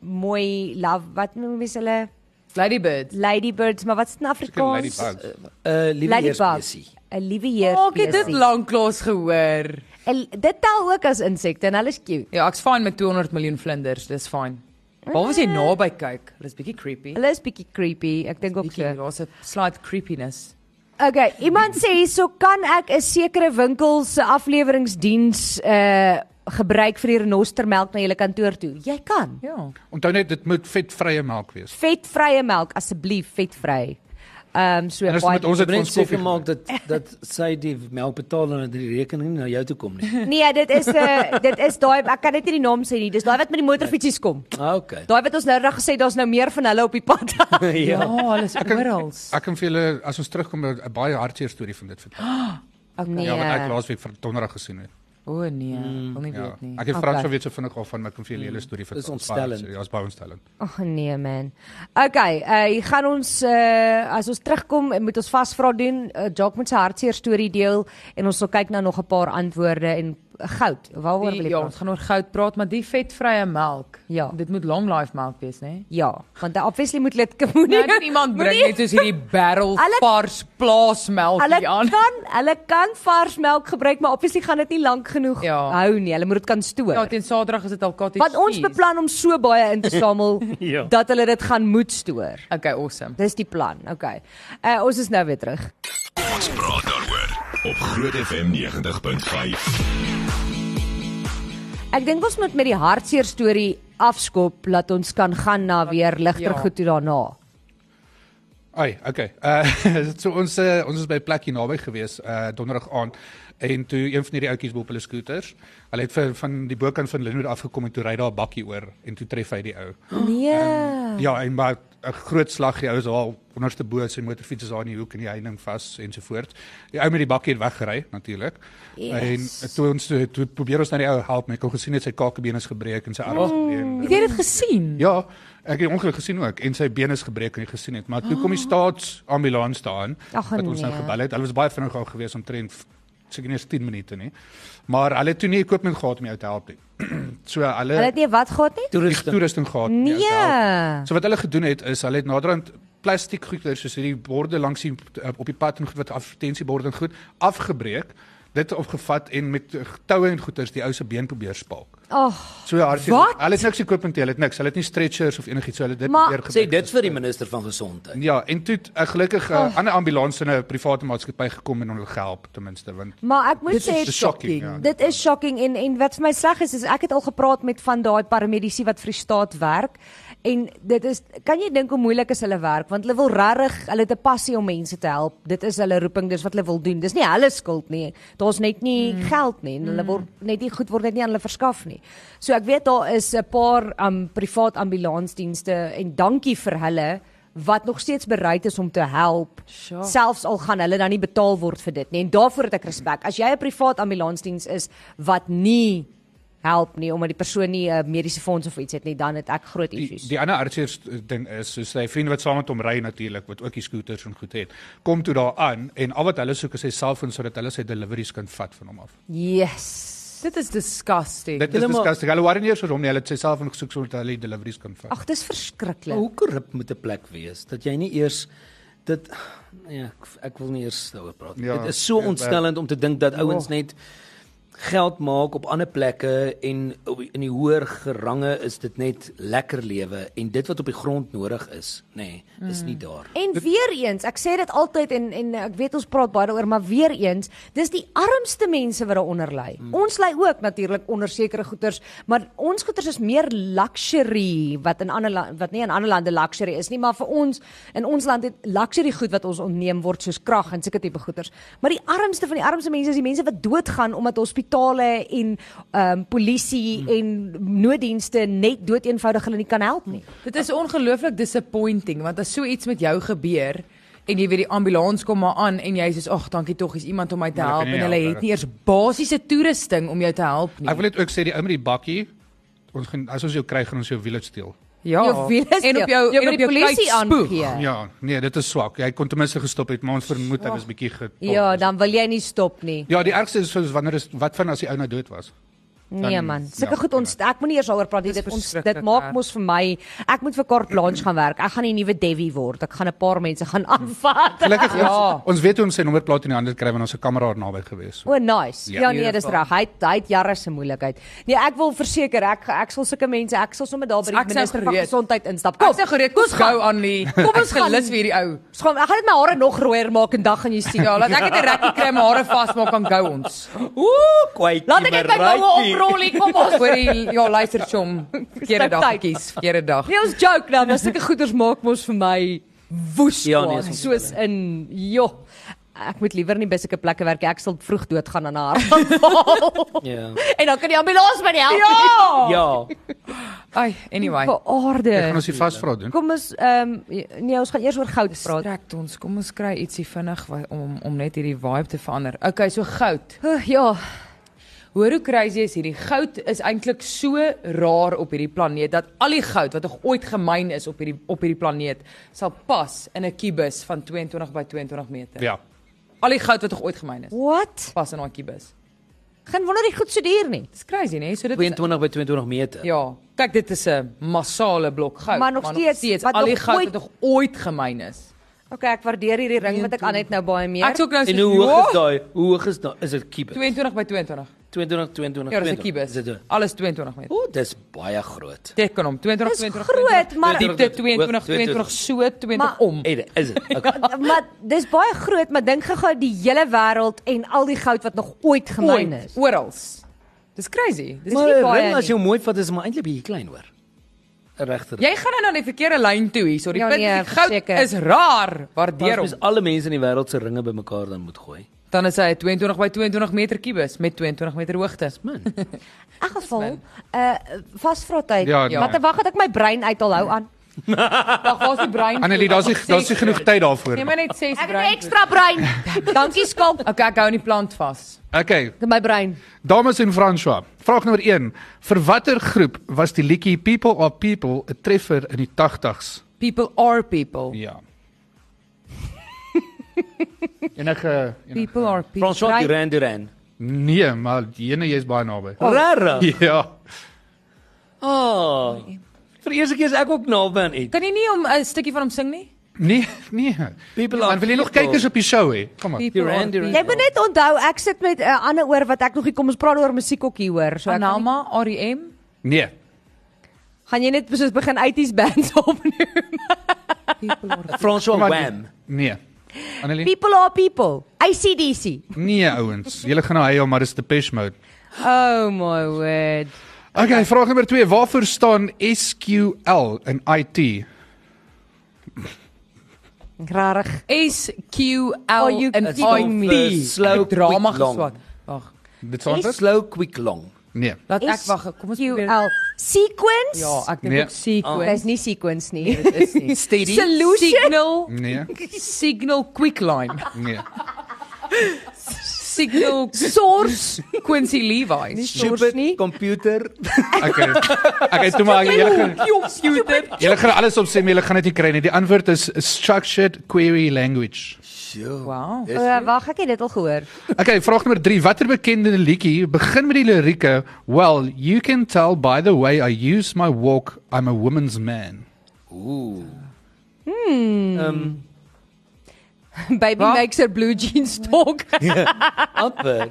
S1: mooi love wat noem mens hulle
S2: Ladybird.
S1: ladybirds, maar wat is dit in Afrikaans?
S3: Ladybugs.
S4: 'n Eh, liewe
S1: Ladybug.
S4: heersbesie.
S1: 'n Liewe heer.
S2: Maak Oh, dit dit lanklaas gehoor.
S1: Dit tel ook as insekte en hulle is cute.
S2: Ja, ek's fine met 200 miljoen vlinders, dis fine. Behalwe as jy naby kyk, dis bietjie creepy.
S1: Hulle is bietjie creepy. Ek dink ook so.
S2: Bietjie, daar's 'n slight creepiness.
S1: Okay, iemand sê hierso kan ek 'n sekere winkel se afleweringsdiens uh gebruik vir die renostermelk na julle kantoor toe? Jy kan.
S2: Ja.
S3: Onthou net dit moet vetvrye melk wees.
S1: Vetvrye melk asseblief, vetvry. Ehm um, so
S3: En as
S1: baie-
S3: met ons
S4: Ek
S3: het
S4: wil net
S3: ons koffie
S4: seker
S3: gemaak.
S4: maak dat dat sy die melk betaal en dat die rekening nie na jou toe kom nie.
S1: Nee, dit is 'n uh, dit is daai ek kan dit nie die naam sê nie. Dis daai wat met die motorfietsies kom.
S4: Ah, okay.
S1: Daai wat ons nou reg gesê daar's nou meer van hulle op die pad.
S2: Ja, hulle is oral.
S3: Ek kan vir julle as ons terugkom 'n 'n baie hartseer storie van dit vertel.
S1: nee.
S3: Ja, wat ek laasweek vir donderdag gesien het.
S2: O nee, wil nie
S3: Ja.
S2: weet nie.
S3: Ek het
S1: Okay.
S3: Frans van weet so vinnig af van my kan vir julle hele storie vertel.
S4: Dis ontstellend.
S3: Ja, is baie ontstellend.
S1: Ag nee man. Okay, uh hier gaan ons uh as ons terugkom eh, moet ons vasvra doen. Uh, Jock moet sy hartseer storie deel en ons sal kyk na nog 'n paar antwoorde en goud. Waaroor wil
S2: Die,
S1: jy
S2: ja,
S1: praat?
S2: ons gaan oor goud praat, maar die vetvrye melk.
S1: Ja.
S2: Dit moet long life melk wees, né? Nee?
S1: Ja, want eh, obviously moet dit moenie.
S2: Nou dit iemand bring
S1: Nee, moenie-
S2: net soos hierdie barrel
S1: Hulle-
S2: vars plaasmelk
S1: Hulle
S2: hier aan.
S1: kan hulle kan vars melk gebruik, maar obviously gaan dit nie lank genoeg
S2: Ja.
S1: hou nie. Hulle moet dit kan stoor.
S2: Ja, teen Saterdag is dit al cottage
S1: want ons
S2: cheese.
S1: beplan om so baie in te samel
S4: Ja.
S1: dat hulle dit gaan moet stoor.
S2: Okay, awesome.
S1: Dis die plan. Okay. Uh ons is nou weer terug.
S5: Ons praat daaroor op Groot FM 90.5.
S1: Ek dink ons moet met die hartseer storie afskop laat ons kan gaan na weer ligter
S2: Ja.
S1: goed toe daarna.
S3: Ai, okay. Uh so ons uh, ons is by 'n plekkie naby gewees uh donderdag aand en toe een van hierdie ouetjies op hulle skooters. Hulle het van, van die bokant van Lynnwood afgekom en toe ry daar 'n bakkie oor en toe tref hy die ou.
S1: Nee.
S3: Ja, en maar 'n groot slag die ou is al onderste bo sy motorfiets is daar in die hoek en die heining vas ensovoorts. Die ou met die bakkie het weggery natuurlik.
S1: Yes.
S3: En toe ons toe, toe probeer ons nou die ou help, maar ek kon gesien het sy kakebeen is gebreek en sy arm is gebreek.
S2: Het jy dit gesien?
S3: Ja, ek het die ongeluk gesien ook en sy been is gebreek en jy gesien het, maar toe kom die
S1: Ah.
S3: staatsambulans daarin
S1: Ag,
S3: wat ons nou
S1: nee.
S3: gebel het. Hulle was baie vinnig daar gewees omtrent f- seker nie eens 10 minute nie. Maar hulle het toe nie equipment gehad om jou te help nie. so hulle
S1: Hulle het nie wat gehad nie?
S4: Toeriste.
S3: toerusting gehad om jou te help.
S1: Nee.
S3: So wat hulle gedoen het is hulle het naderhand plastiek goeder soos hierdie borde langs die eh, op die pad en goed wat advertensieborde en goed afgebreek, dit opgevat en met toue en goeters die ou se been probeer spalk.
S1: Ag,
S3: So ja, hulle
S1: Wat?
S3: het- hulle het niks equipment, hulle het niks. Hulle het nie stretchers of enigiets so hulle het dit
S1: Maar-
S3: probeer
S4: Sê
S3: gebruik.
S4: dit vir die minister van gesondheid.
S3: Ja, en toe 'n gelukkige
S1: Oh.
S3: uh, ander ambulans in 'n private maatskappy gekom en hulle gehelp ten minste want
S1: maar ek moet
S2: Dit
S1: sê
S2: is
S3: dis
S2: shocking.
S3: shocking, ja.
S1: Dit is shocking en en wat vir my sleg is is ek het al gepraat met van daai paramedici wat vir die staat werk en dit is kan jy dink hoe moeilik is hulle werk want hulle wil regtig hulle het 'n passie om mense te help. Dit is hulle roeping, dis wat hulle wil doen. Dis nie hulle skuld nie. Daar's net nie geld nie en hulle word net nie goed word net nie aan hulle verskaf nie. So ek weet daar is 'n paar um privaat ambulansdienste en dankie vir hulle wat nog steeds bereid is om te help
S2: Sjoe.
S1: selfs al gaan hulle dan nie betaal word vir dit nie en daarvoor het ek respek. As jy 'n privaat ambulansdiens is wat nie help nie omdat die persoon nie 'n mediese fonds of iets het nie, dan het ek groot
S3: die,
S1: issues.
S3: die ander artiers ding is soos sy vriende wat saam met hom ry natuurlik wat ook die scooters en goed het. Kom toe daar aan en al wat hulle soek is sy selfoon sodat hulle sy deliveries kan vat van hom af.
S1: Yes.
S2: Dit is disgusting.
S3: Dit is
S4: Julle maar-
S3: disgusting. Hulle waren nie eers oor hom nie, hulle het sy selfoon gesoek sodat hulle die deliveries kan vat.
S1: Ag, dis verskriklik.
S4: Maar hoe korrup moet 'n plek wees dat jy nie eers dit ja, ek, ek wil nie eers daaroor praat. nie.
S3: Ja,
S4: dit is so
S3: ja,
S4: ontstellend om te dink dat ouens net geld maak op ander plekke en op die- in die hoër gerange is dit net lekker lewe en dit wat op die grond nodig is, nê, nee,
S2: Mm.
S4: is nie daar.
S1: En weer eens, ek sê dit altyd en en ek weet ons praat baie daaroor, maar weer eens, dis die armste mense wat daaronder ly.
S2: Hmm.
S1: Ons ly ook natuurlik onder sekere goederes, maar ons goederes is meer luxury wat in ander la- wat nie in ander lande luxury is nie, maar vir ons in ons land het luxury goed wat ons ontneem word soos krag en sulke tipe goederes. Maar die armste van die armste mense is die mense wat doodgaan omdat hospitale en ehm
S2: Hmm.
S1: polisie en nooddienste net dood eenvoudig hulle nie kan help nie.
S2: Dit is ongelooflik disappointing want as so iets met jou gebeur en jy weet die ambulans kom maar aan en jy sê ag dankie tog is iemand om my te
S3: Maar
S2: help
S3: hulle kan
S2: en
S3: nie
S2: hulle
S3: help,
S2: het nie eers basiese toerusting om jou te help
S3: Ek
S2: nie.
S3: wil net ook sê die ou met die bakkie ons gaan as ons jou kry gaan ons jou wiele steel.
S2: Ja.
S1: Jou wiel is
S2: en
S1: deel.
S2: op jou
S1: Jy
S2: en
S1: moet
S2: op jou
S1: die polisie
S2: kyk spoeg.
S1: aangeë.
S3: Ja, nee, dit is swak. Hy kon ten minste gestop het, maar ons vermoed hy was bietjie getop.
S1: Ja, dan wil jy nie stop nie.
S3: Ja, die ergste is soos wanneer is wat van as die ou nou dood was?
S1: Nee
S3: Dan-
S1: man,
S3: ja,
S1: sulke goed ons ek moenie eers daaroor praat nie.
S2: Dis
S1: Dit ons dit
S2: verskriklik
S1: maak
S2: erg.
S1: mos vir my. Ek moet vir Carte Blanche gaan werk. Ek gaan die nuwe Devi word. Ek gaan 'n paar mense
S2: Hm.
S1: gaan aanvat.
S3: Gelukkig ja.
S2: Ja.
S3: ons, ons weet hoe om sy nommerplaat in die hande te kry want ons se kamera naby gewees.
S1: O, nice.
S3: Ja.
S1: Ja, nee, dis
S2: Beautiful.
S1: reg. Hy het- hy het jare se moeilikheid. Nee, ek wil verseker ek ek sal sulke mense, ek sal sommer daar by die
S2: Ek sou
S1: minister van
S2: gereed.
S1: gesondheid instap. Kom.
S2: Kom, sê gereed, kom ons gou aan die. Kom ons
S1: gaan.
S2: gelus vir hierdie ou.
S1: Skam, ek gaan net my hare nog rooier maak en dan gaan jy sien.
S2: Ja, laat ek net 'n rekkie kry my hare vasmaak en gou ons.
S4: Ooh, kwyt.
S2: Laat ek net my boue oprol hier, kom ons. nou Hoor die ja, luister chom. Verkeerde dag kies, verkeerde dag.
S1: Nee, ons joke nou, maar sulke goeders maak mos vir my woes
S4: Ja,
S1: ja,
S4: nee,
S1: nee,
S4: soms
S1: soos in joh. Ek moet liewer nie by sulke plekke werk. nie. Ek sal vroeg doodgaan aan 'n hartaanval.
S4: Ja.
S1: en dan kan die ambulans my nie help.
S2: Ah.
S4: Ja.
S2: Ai, anyway.
S1: Vir
S3: Ek gaan
S1: aarde.
S3: ons die vasvra doen.
S1: Kom ons ehm um, nee, ons gaan eers oor goud praat.
S2: Strek ons, kom ons kry ietsie vinnig wa- om om net hierdie vibe te verander. Okay, so goud.
S1: Huh, ja,
S2: Hoor hoe crazy is hierdie goud is eintlik so rar op hierdie planeet dat al die goud wat nog ooit gemyn is op hierdie op hierdie planeet sal pas in 'n kubus van 22 by 22 meter.
S3: Ja.
S2: Al die goud wat nog ooit gemyn is
S1: what?
S2: pas in daai kubus.
S1: Geen wonder die goed so duur nie.
S2: Dis crazy, nee? So dit is,
S4: 22 by 22 meter.
S2: ja, kyk dit is 'n massale blok goud,
S1: Maar nog steeds, wat
S2: al die
S1: nog
S2: goud
S1: ooit-
S2: wat nog ooit gemyn is.
S1: OK, ek waardeer hierdie ring wat ek aan het nou baie meer.
S2: Ek sou ook nou
S4: En
S2: soos,
S4: hoe hoog
S2: "Wow,
S4: is daai? Hoe hoog is daai? Is dit kubus?
S2: 22 by 22.
S4: 22 22.
S2: Ja, dis 'n kubus.
S4: Dit
S2: Alles 22 meter.
S4: O, dis baie groot.
S2: Tek kan hom 22
S1: Dis
S2: 22.
S1: groot, maar-
S2: diepte 22 22 so 20
S1: Maar-
S2: om.
S4: Hey, is dit? Okay.
S1: Eh, maar dis baie groot, maar dink gou-gou die hele wêreld en al die goud wat nog ooit gemyn is.
S2: Ooit, oral. Dis crazy. Dis
S1: Maar
S2: nie
S1: baie
S4: ring
S1: nie.
S4: as jy hom mooi vat is maar eintlik bietjie klein hoor. 'n regter.
S2: Jy gaan nou na die verkeerde lyn toe hier. So die
S1: Ja,
S2: punt
S1: nee,
S2: nee, goud
S1: verseker.
S2: is raar.
S4: Pas
S2: Waardeer
S4: mens
S2: hom.
S4: alle mense in die wêreld se ringe bymekaar dan moet gooi.
S2: Dan is hy 22 by 22 meter kubus met 22 meter hoogte.
S4: Man.
S1: In elk geval, uh vasvra tyd.
S3: Ja,
S2: nee.
S1: Wat wag het ek my brein uit al hou aan.
S2: Wag, waar's die brein?
S3: Annelie, daar's nie daar's nie genoeg tyd daarvoor.
S2: Nee,
S3: nie.
S2: maar net 6
S1: Ek het 'n
S2: brein.
S1: ekstra brein. Dankie skalk.
S2: Okay, ek hou in die plant vas.
S3: Okay,
S1: My brein.
S3: dames en François. Vraag nommer 1. Vir watter groep was die liedjie People are People 'n treffer in die 80s?
S2: People are people.
S3: Ja. Enige enige
S2: People are people.
S4: François
S2: Brein-
S4: Duran Duran.
S3: Nee, maar jene jy's baie naby.
S4: Oh. Rara.
S3: Ja.
S4: Ah. Vir die eerste keer is ek ook naby aan iets.
S2: Kan jy nie om 'n stukkie van hom sing nie?
S3: Nee, nee.
S4: People
S3: Dan wil jy nog kykers op die show hê. Kom aan.
S2: People
S4: Duran
S2: are
S4: Duran.
S1: Jy moet net onthou ek sit met 'n uh, ander oor wat ek nog nie kom ons praat oor musiek ook hier hoor. So ek kan nie-
S2: Anama, R.E.M.
S3: Nee.
S1: gaan jy net soos begin 80s bands opnoem.
S2: People are
S4: François
S3: Kom aan.
S4: Wham.
S3: Nee. Annelie?
S1: People are people. ACDC.
S3: Nee, ouens. Julle gaan nou hy, maar dis Depeche Mode.
S1: Oh my word.
S3: Okay, vraag nommer 2. Waarvoor staan SQL in IT?
S1: Rarig.
S2: S Q
S1: Are
S2: L
S1: you
S2: en
S1: kidding me?
S2: IT.
S4: Slow,
S2: Ek drama
S4: quick, long.
S2: geswat. Wag.
S3: Dit staan dit?
S4: Slow quick long.
S3: Nee.
S2: Laat ek wag. Kom ons probeer.
S1: QL sequence.
S2: Ja, ek dink
S3: Nee.
S2: ook sequence.
S1: Dis nie sequence Nee, nie.
S2: Dit is nie.
S4: Steady.
S1: Solution.
S2: Signal,
S3: Nee.
S2: signal quick line.
S3: Nee.
S2: Signal source Quincy Levi's.
S1: Source nie.
S4: computer.
S3: Okay. Okay, toe maar julle gaan
S2: Computer.
S3: julle gaan alles op sê, maar julle gaan dit nie kry nie. Die antwoord is structured query language.
S2: Wow.
S1: O, wag, ek het dit al gehoor.
S3: Okay, vraag nommer 3. Watter bekende liedjie begin met die lirieke, "Well, you can tell by the way I use my walk, I'm a woman's man."
S4: Ooh. ehm,
S1: Baby
S2: Wat?
S1: makes her blue jeans talk.
S4: Amper.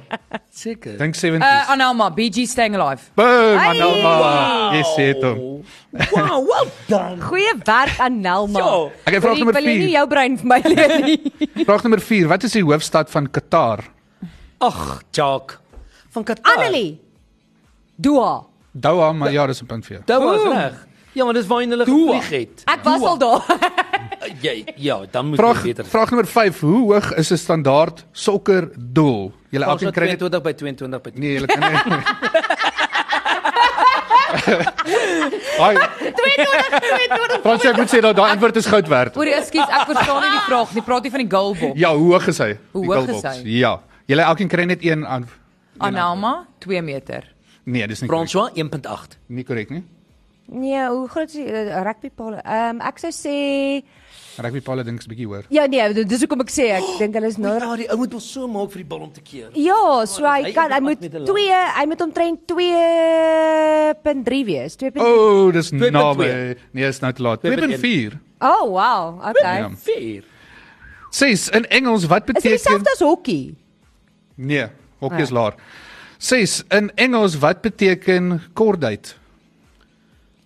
S4: Seker.
S3: Dink 70s.
S4: Eh,
S2: Uh Anelma, BG Staying Alive.
S3: Boom,
S1: Hey!
S3: Anelma. Jy sê dit hom.
S4: Wow, Ah, well done.
S1: Goeie werk aan Nelma.
S4: Ja.
S3: Ek het vraag nommer
S1: Wil jy
S3: vier.
S1: nie jou brein vir my leer nie?
S3: Vraag nommer 4. Wat is die hoofstad van Qatar?
S4: Ag, Jacques van Qatar.
S1: Annelie. Dua.
S3: Doha, maar ja, dis 'n punt vir jou.
S4: Dit was reg. Ja, maar dis waar hulle
S2: Doa.
S4: gevlieg het.
S1: Ek was al daar.
S4: Uh, Jy ja, dan moet
S3: Vraag
S4: jy beter.
S3: vraag nommer 5. Hoe hoog is 'n standaard sokkerdoel? Julle
S4: Ons
S3: elkeen
S4: het
S3: kry net
S4: 22 by 22 by 22.
S3: Nee, julle kan nie. Ai,
S1: 22.
S3: Frans, ek moet sê dat daai antwoord is goud werd.
S2: Oor ekskuus, ek verstaan nie die vraag nie. Praat jy van die goalbop?
S3: Ja, hoe hoog is hy?
S2: Hoe
S3: Die
S2: hoog is
S3: goalbox.
S2: hy?
S3: Ja. Julle elkeen kry net een aan
S2: Anelma, 2 meter.
S3: Nee, dis nie korrek
S4: François 1.8.
S3: nie. Korrek nie.
S1: Nee, hoe groot is die uh, rugbypaal? Ehm um, ek sou sê
S3: Rugby palle dinks bietjie hoor.
S1: ja nee, dit- dis hoekom ek sê ek dink hulle is nou
S4: Ja, die ou moet ons so maak vir die bal om te keer.
S1: Ja, so hy
S4: Hy
S1: kan hy
S4: is
S1: moet
S4: met 'n
S1: 2,
S4: lang-
S1: hy moet omtrent 2.3 wees. 2.
S3: O, oh, dis naby.
S4: 2.2.
S3: Nee, is nou te laat.
S4: 2.1.
S3: 2.4.
S1: Oh, wow.
S3: Ja.
S1: Okay.
S4: Fair.
S3: Ses in Engels wat
S1: Is dit
S3: beteken
S1: dieselfde as hokkie?
S3: Nee, hokkie is
S1: Ah.
S3: laer. Ses in Engels wat beteken kordheid?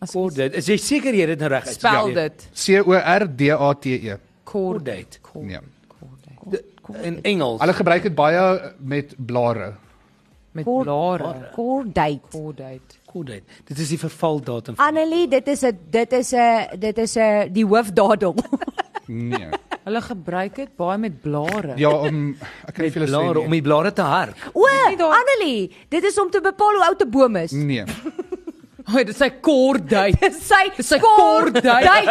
S4: Kort dit. Is jy seker jy het dit nou reg uit?
S2: Spel dit.
S3: C O R D A T E.
S2: Cordate.
S3: Ja.
S4: in Engels.
S3: Hulle gebruik dit baie met blare.
S2: Met
S1: Cord-
S2: blare.
S1: Kordheid.
S2: Cordate.
S4: Kort dit. Dit is die vervaldatum.
S1: Annelie, dit is 'n dit is 'n dit is 'n die hoofdadel.
S3: Nee.
S2: Hulle gebruik dit baie met blare.
S3: Ja, om ek kan nie
S4: Met
S3: vir julle sê. nee.
S4: blare om
S3: nie.
S4: die blare te hark.
S1: O,
S2: nie daar-
S1: Annelie, dit is om te bepaal hoe oud 'n boom is.
S3: Nee.
S2: Hoi, dit is sy cordate.
S1: Dis sy
S2: Dis sy kordheid.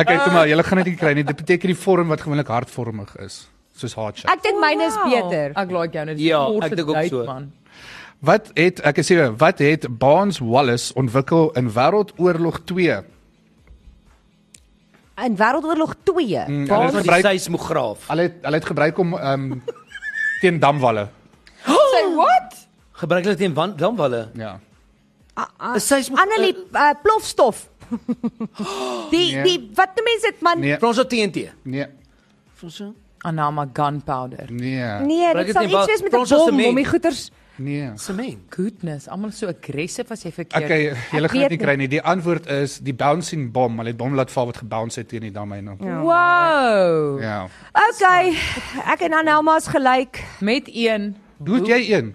S3: Okay, toe maar, julle gaan dit nie kry nie. Dit beteken die vorm wat gewoonlik hartvormig is, soos heart shape.
S1: Ek
S2: Oh,
S1: dink myne is beter.
S2: Ek like jou nou. dis
S4: Ja,
S2: een
S4: ek dink ook
S2: cordate,
S4: so.
S2: man.
S3: Wat het ek sê jou, wat het Barnes Wallace ontwikkel in Wêreldoorlog 2?
S1: In Wêreldoorlog 2.
S3: Hulle
S4: Ons
S3: het
S4: het die
S3: gebruik
S4: seismograaf.
S3: hulle het, hulle het gebruik om ehm um, teen damwalle.
S2: Say what?
S4: Gebruik hulle teen wan- damwalle.
S3: Ja.
S1: Ah,
S4: Is sy-
S1: Annelie uh, plofstof. die
S3: Nee.
S1: die wat die mense dit man.
S3: Nee.
S4: François TNT.
S3: Nee.
S4: François.
S2: Anama gunpowder.
S3: Nee.
S1: Nee, dit
S4: Gebruik dit
S1: sal
S4: nie,
S1: iets
S4: maar
S1: wees met 'n
S4: Frans was
S1: bom
S4: dement.
S1: om die goeters.
S3: Nee.
S4: Sement.
S2: Goodness, almal so aggressief as jy verkeerd.
S3: Okay, julle gaan
S1: weet
S3: dit nie kry nie. Die antwoord is die bouncing bom. Hulle het bom laat val wat gebounce het teen die dam heen.
S2: Ja. Wow.
S3: Ja.
S1: Okay, ek en Annelma's gelyk.
S2: Met een
S3: Doet jy een?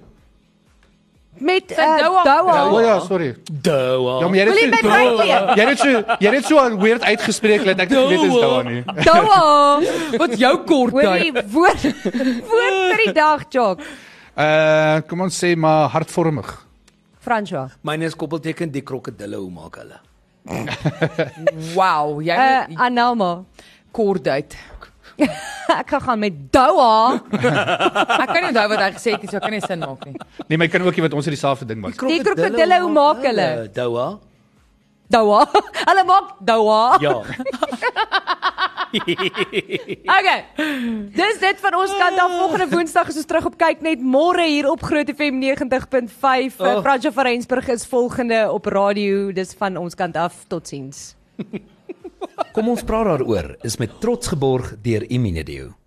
S1: met
S2: Sy
S1: uh,
S2: dou af-
S1: dou
S3: O
S1: al.
S3: ja, sorry.
S4: Doa.
S3: Ja, maar jy het
S1: Wil jy
S3: dit
S1: my
S3: so-
S1: vrykeer?
S3: jy het dit so jy het dit so aan weird uitgespreek dat ek nie geweet het daaraan nie.
S1: Dou al.
S2: Wat jou kort
S1: Hoor jy
S2: tyd.
S1: woord woord vir die dag, Jock.
S3: Uh kom ons sê maar hartvormig.
S1: François.
S4: Myne is koppelteken die krokodille hoe maak hulle?
S2: Wow, jy
S1: Uh
S2: uh,
S1: Anelma.
S2: kort tyd.
S1: Ek gaan gaan met dou al.
S2: Ek kan nie onthou wat hy gesê het nie, so ek kan nie sin maak nie.
S3: Nee, maar jy kan ook nie want ons het dieselfde ding maar.
S1: Die krokodille, hoe maak hulle?
S4: Doa.
S1: Dou al. Hulle maak dou al.
S4: Ja.
S1: Okay. Dis dit van ons kant af. Volgende Woensdag is ons terug op kyk net môre hier op Groot FM 90.5. Oh.
S4: Oh.
S1: Fransjo van Rensburg is volgende op radio. Dis van ons kant af. Totsiens.
S4: Kom ons praat daaroor is met trots geborg deur Imine Dio.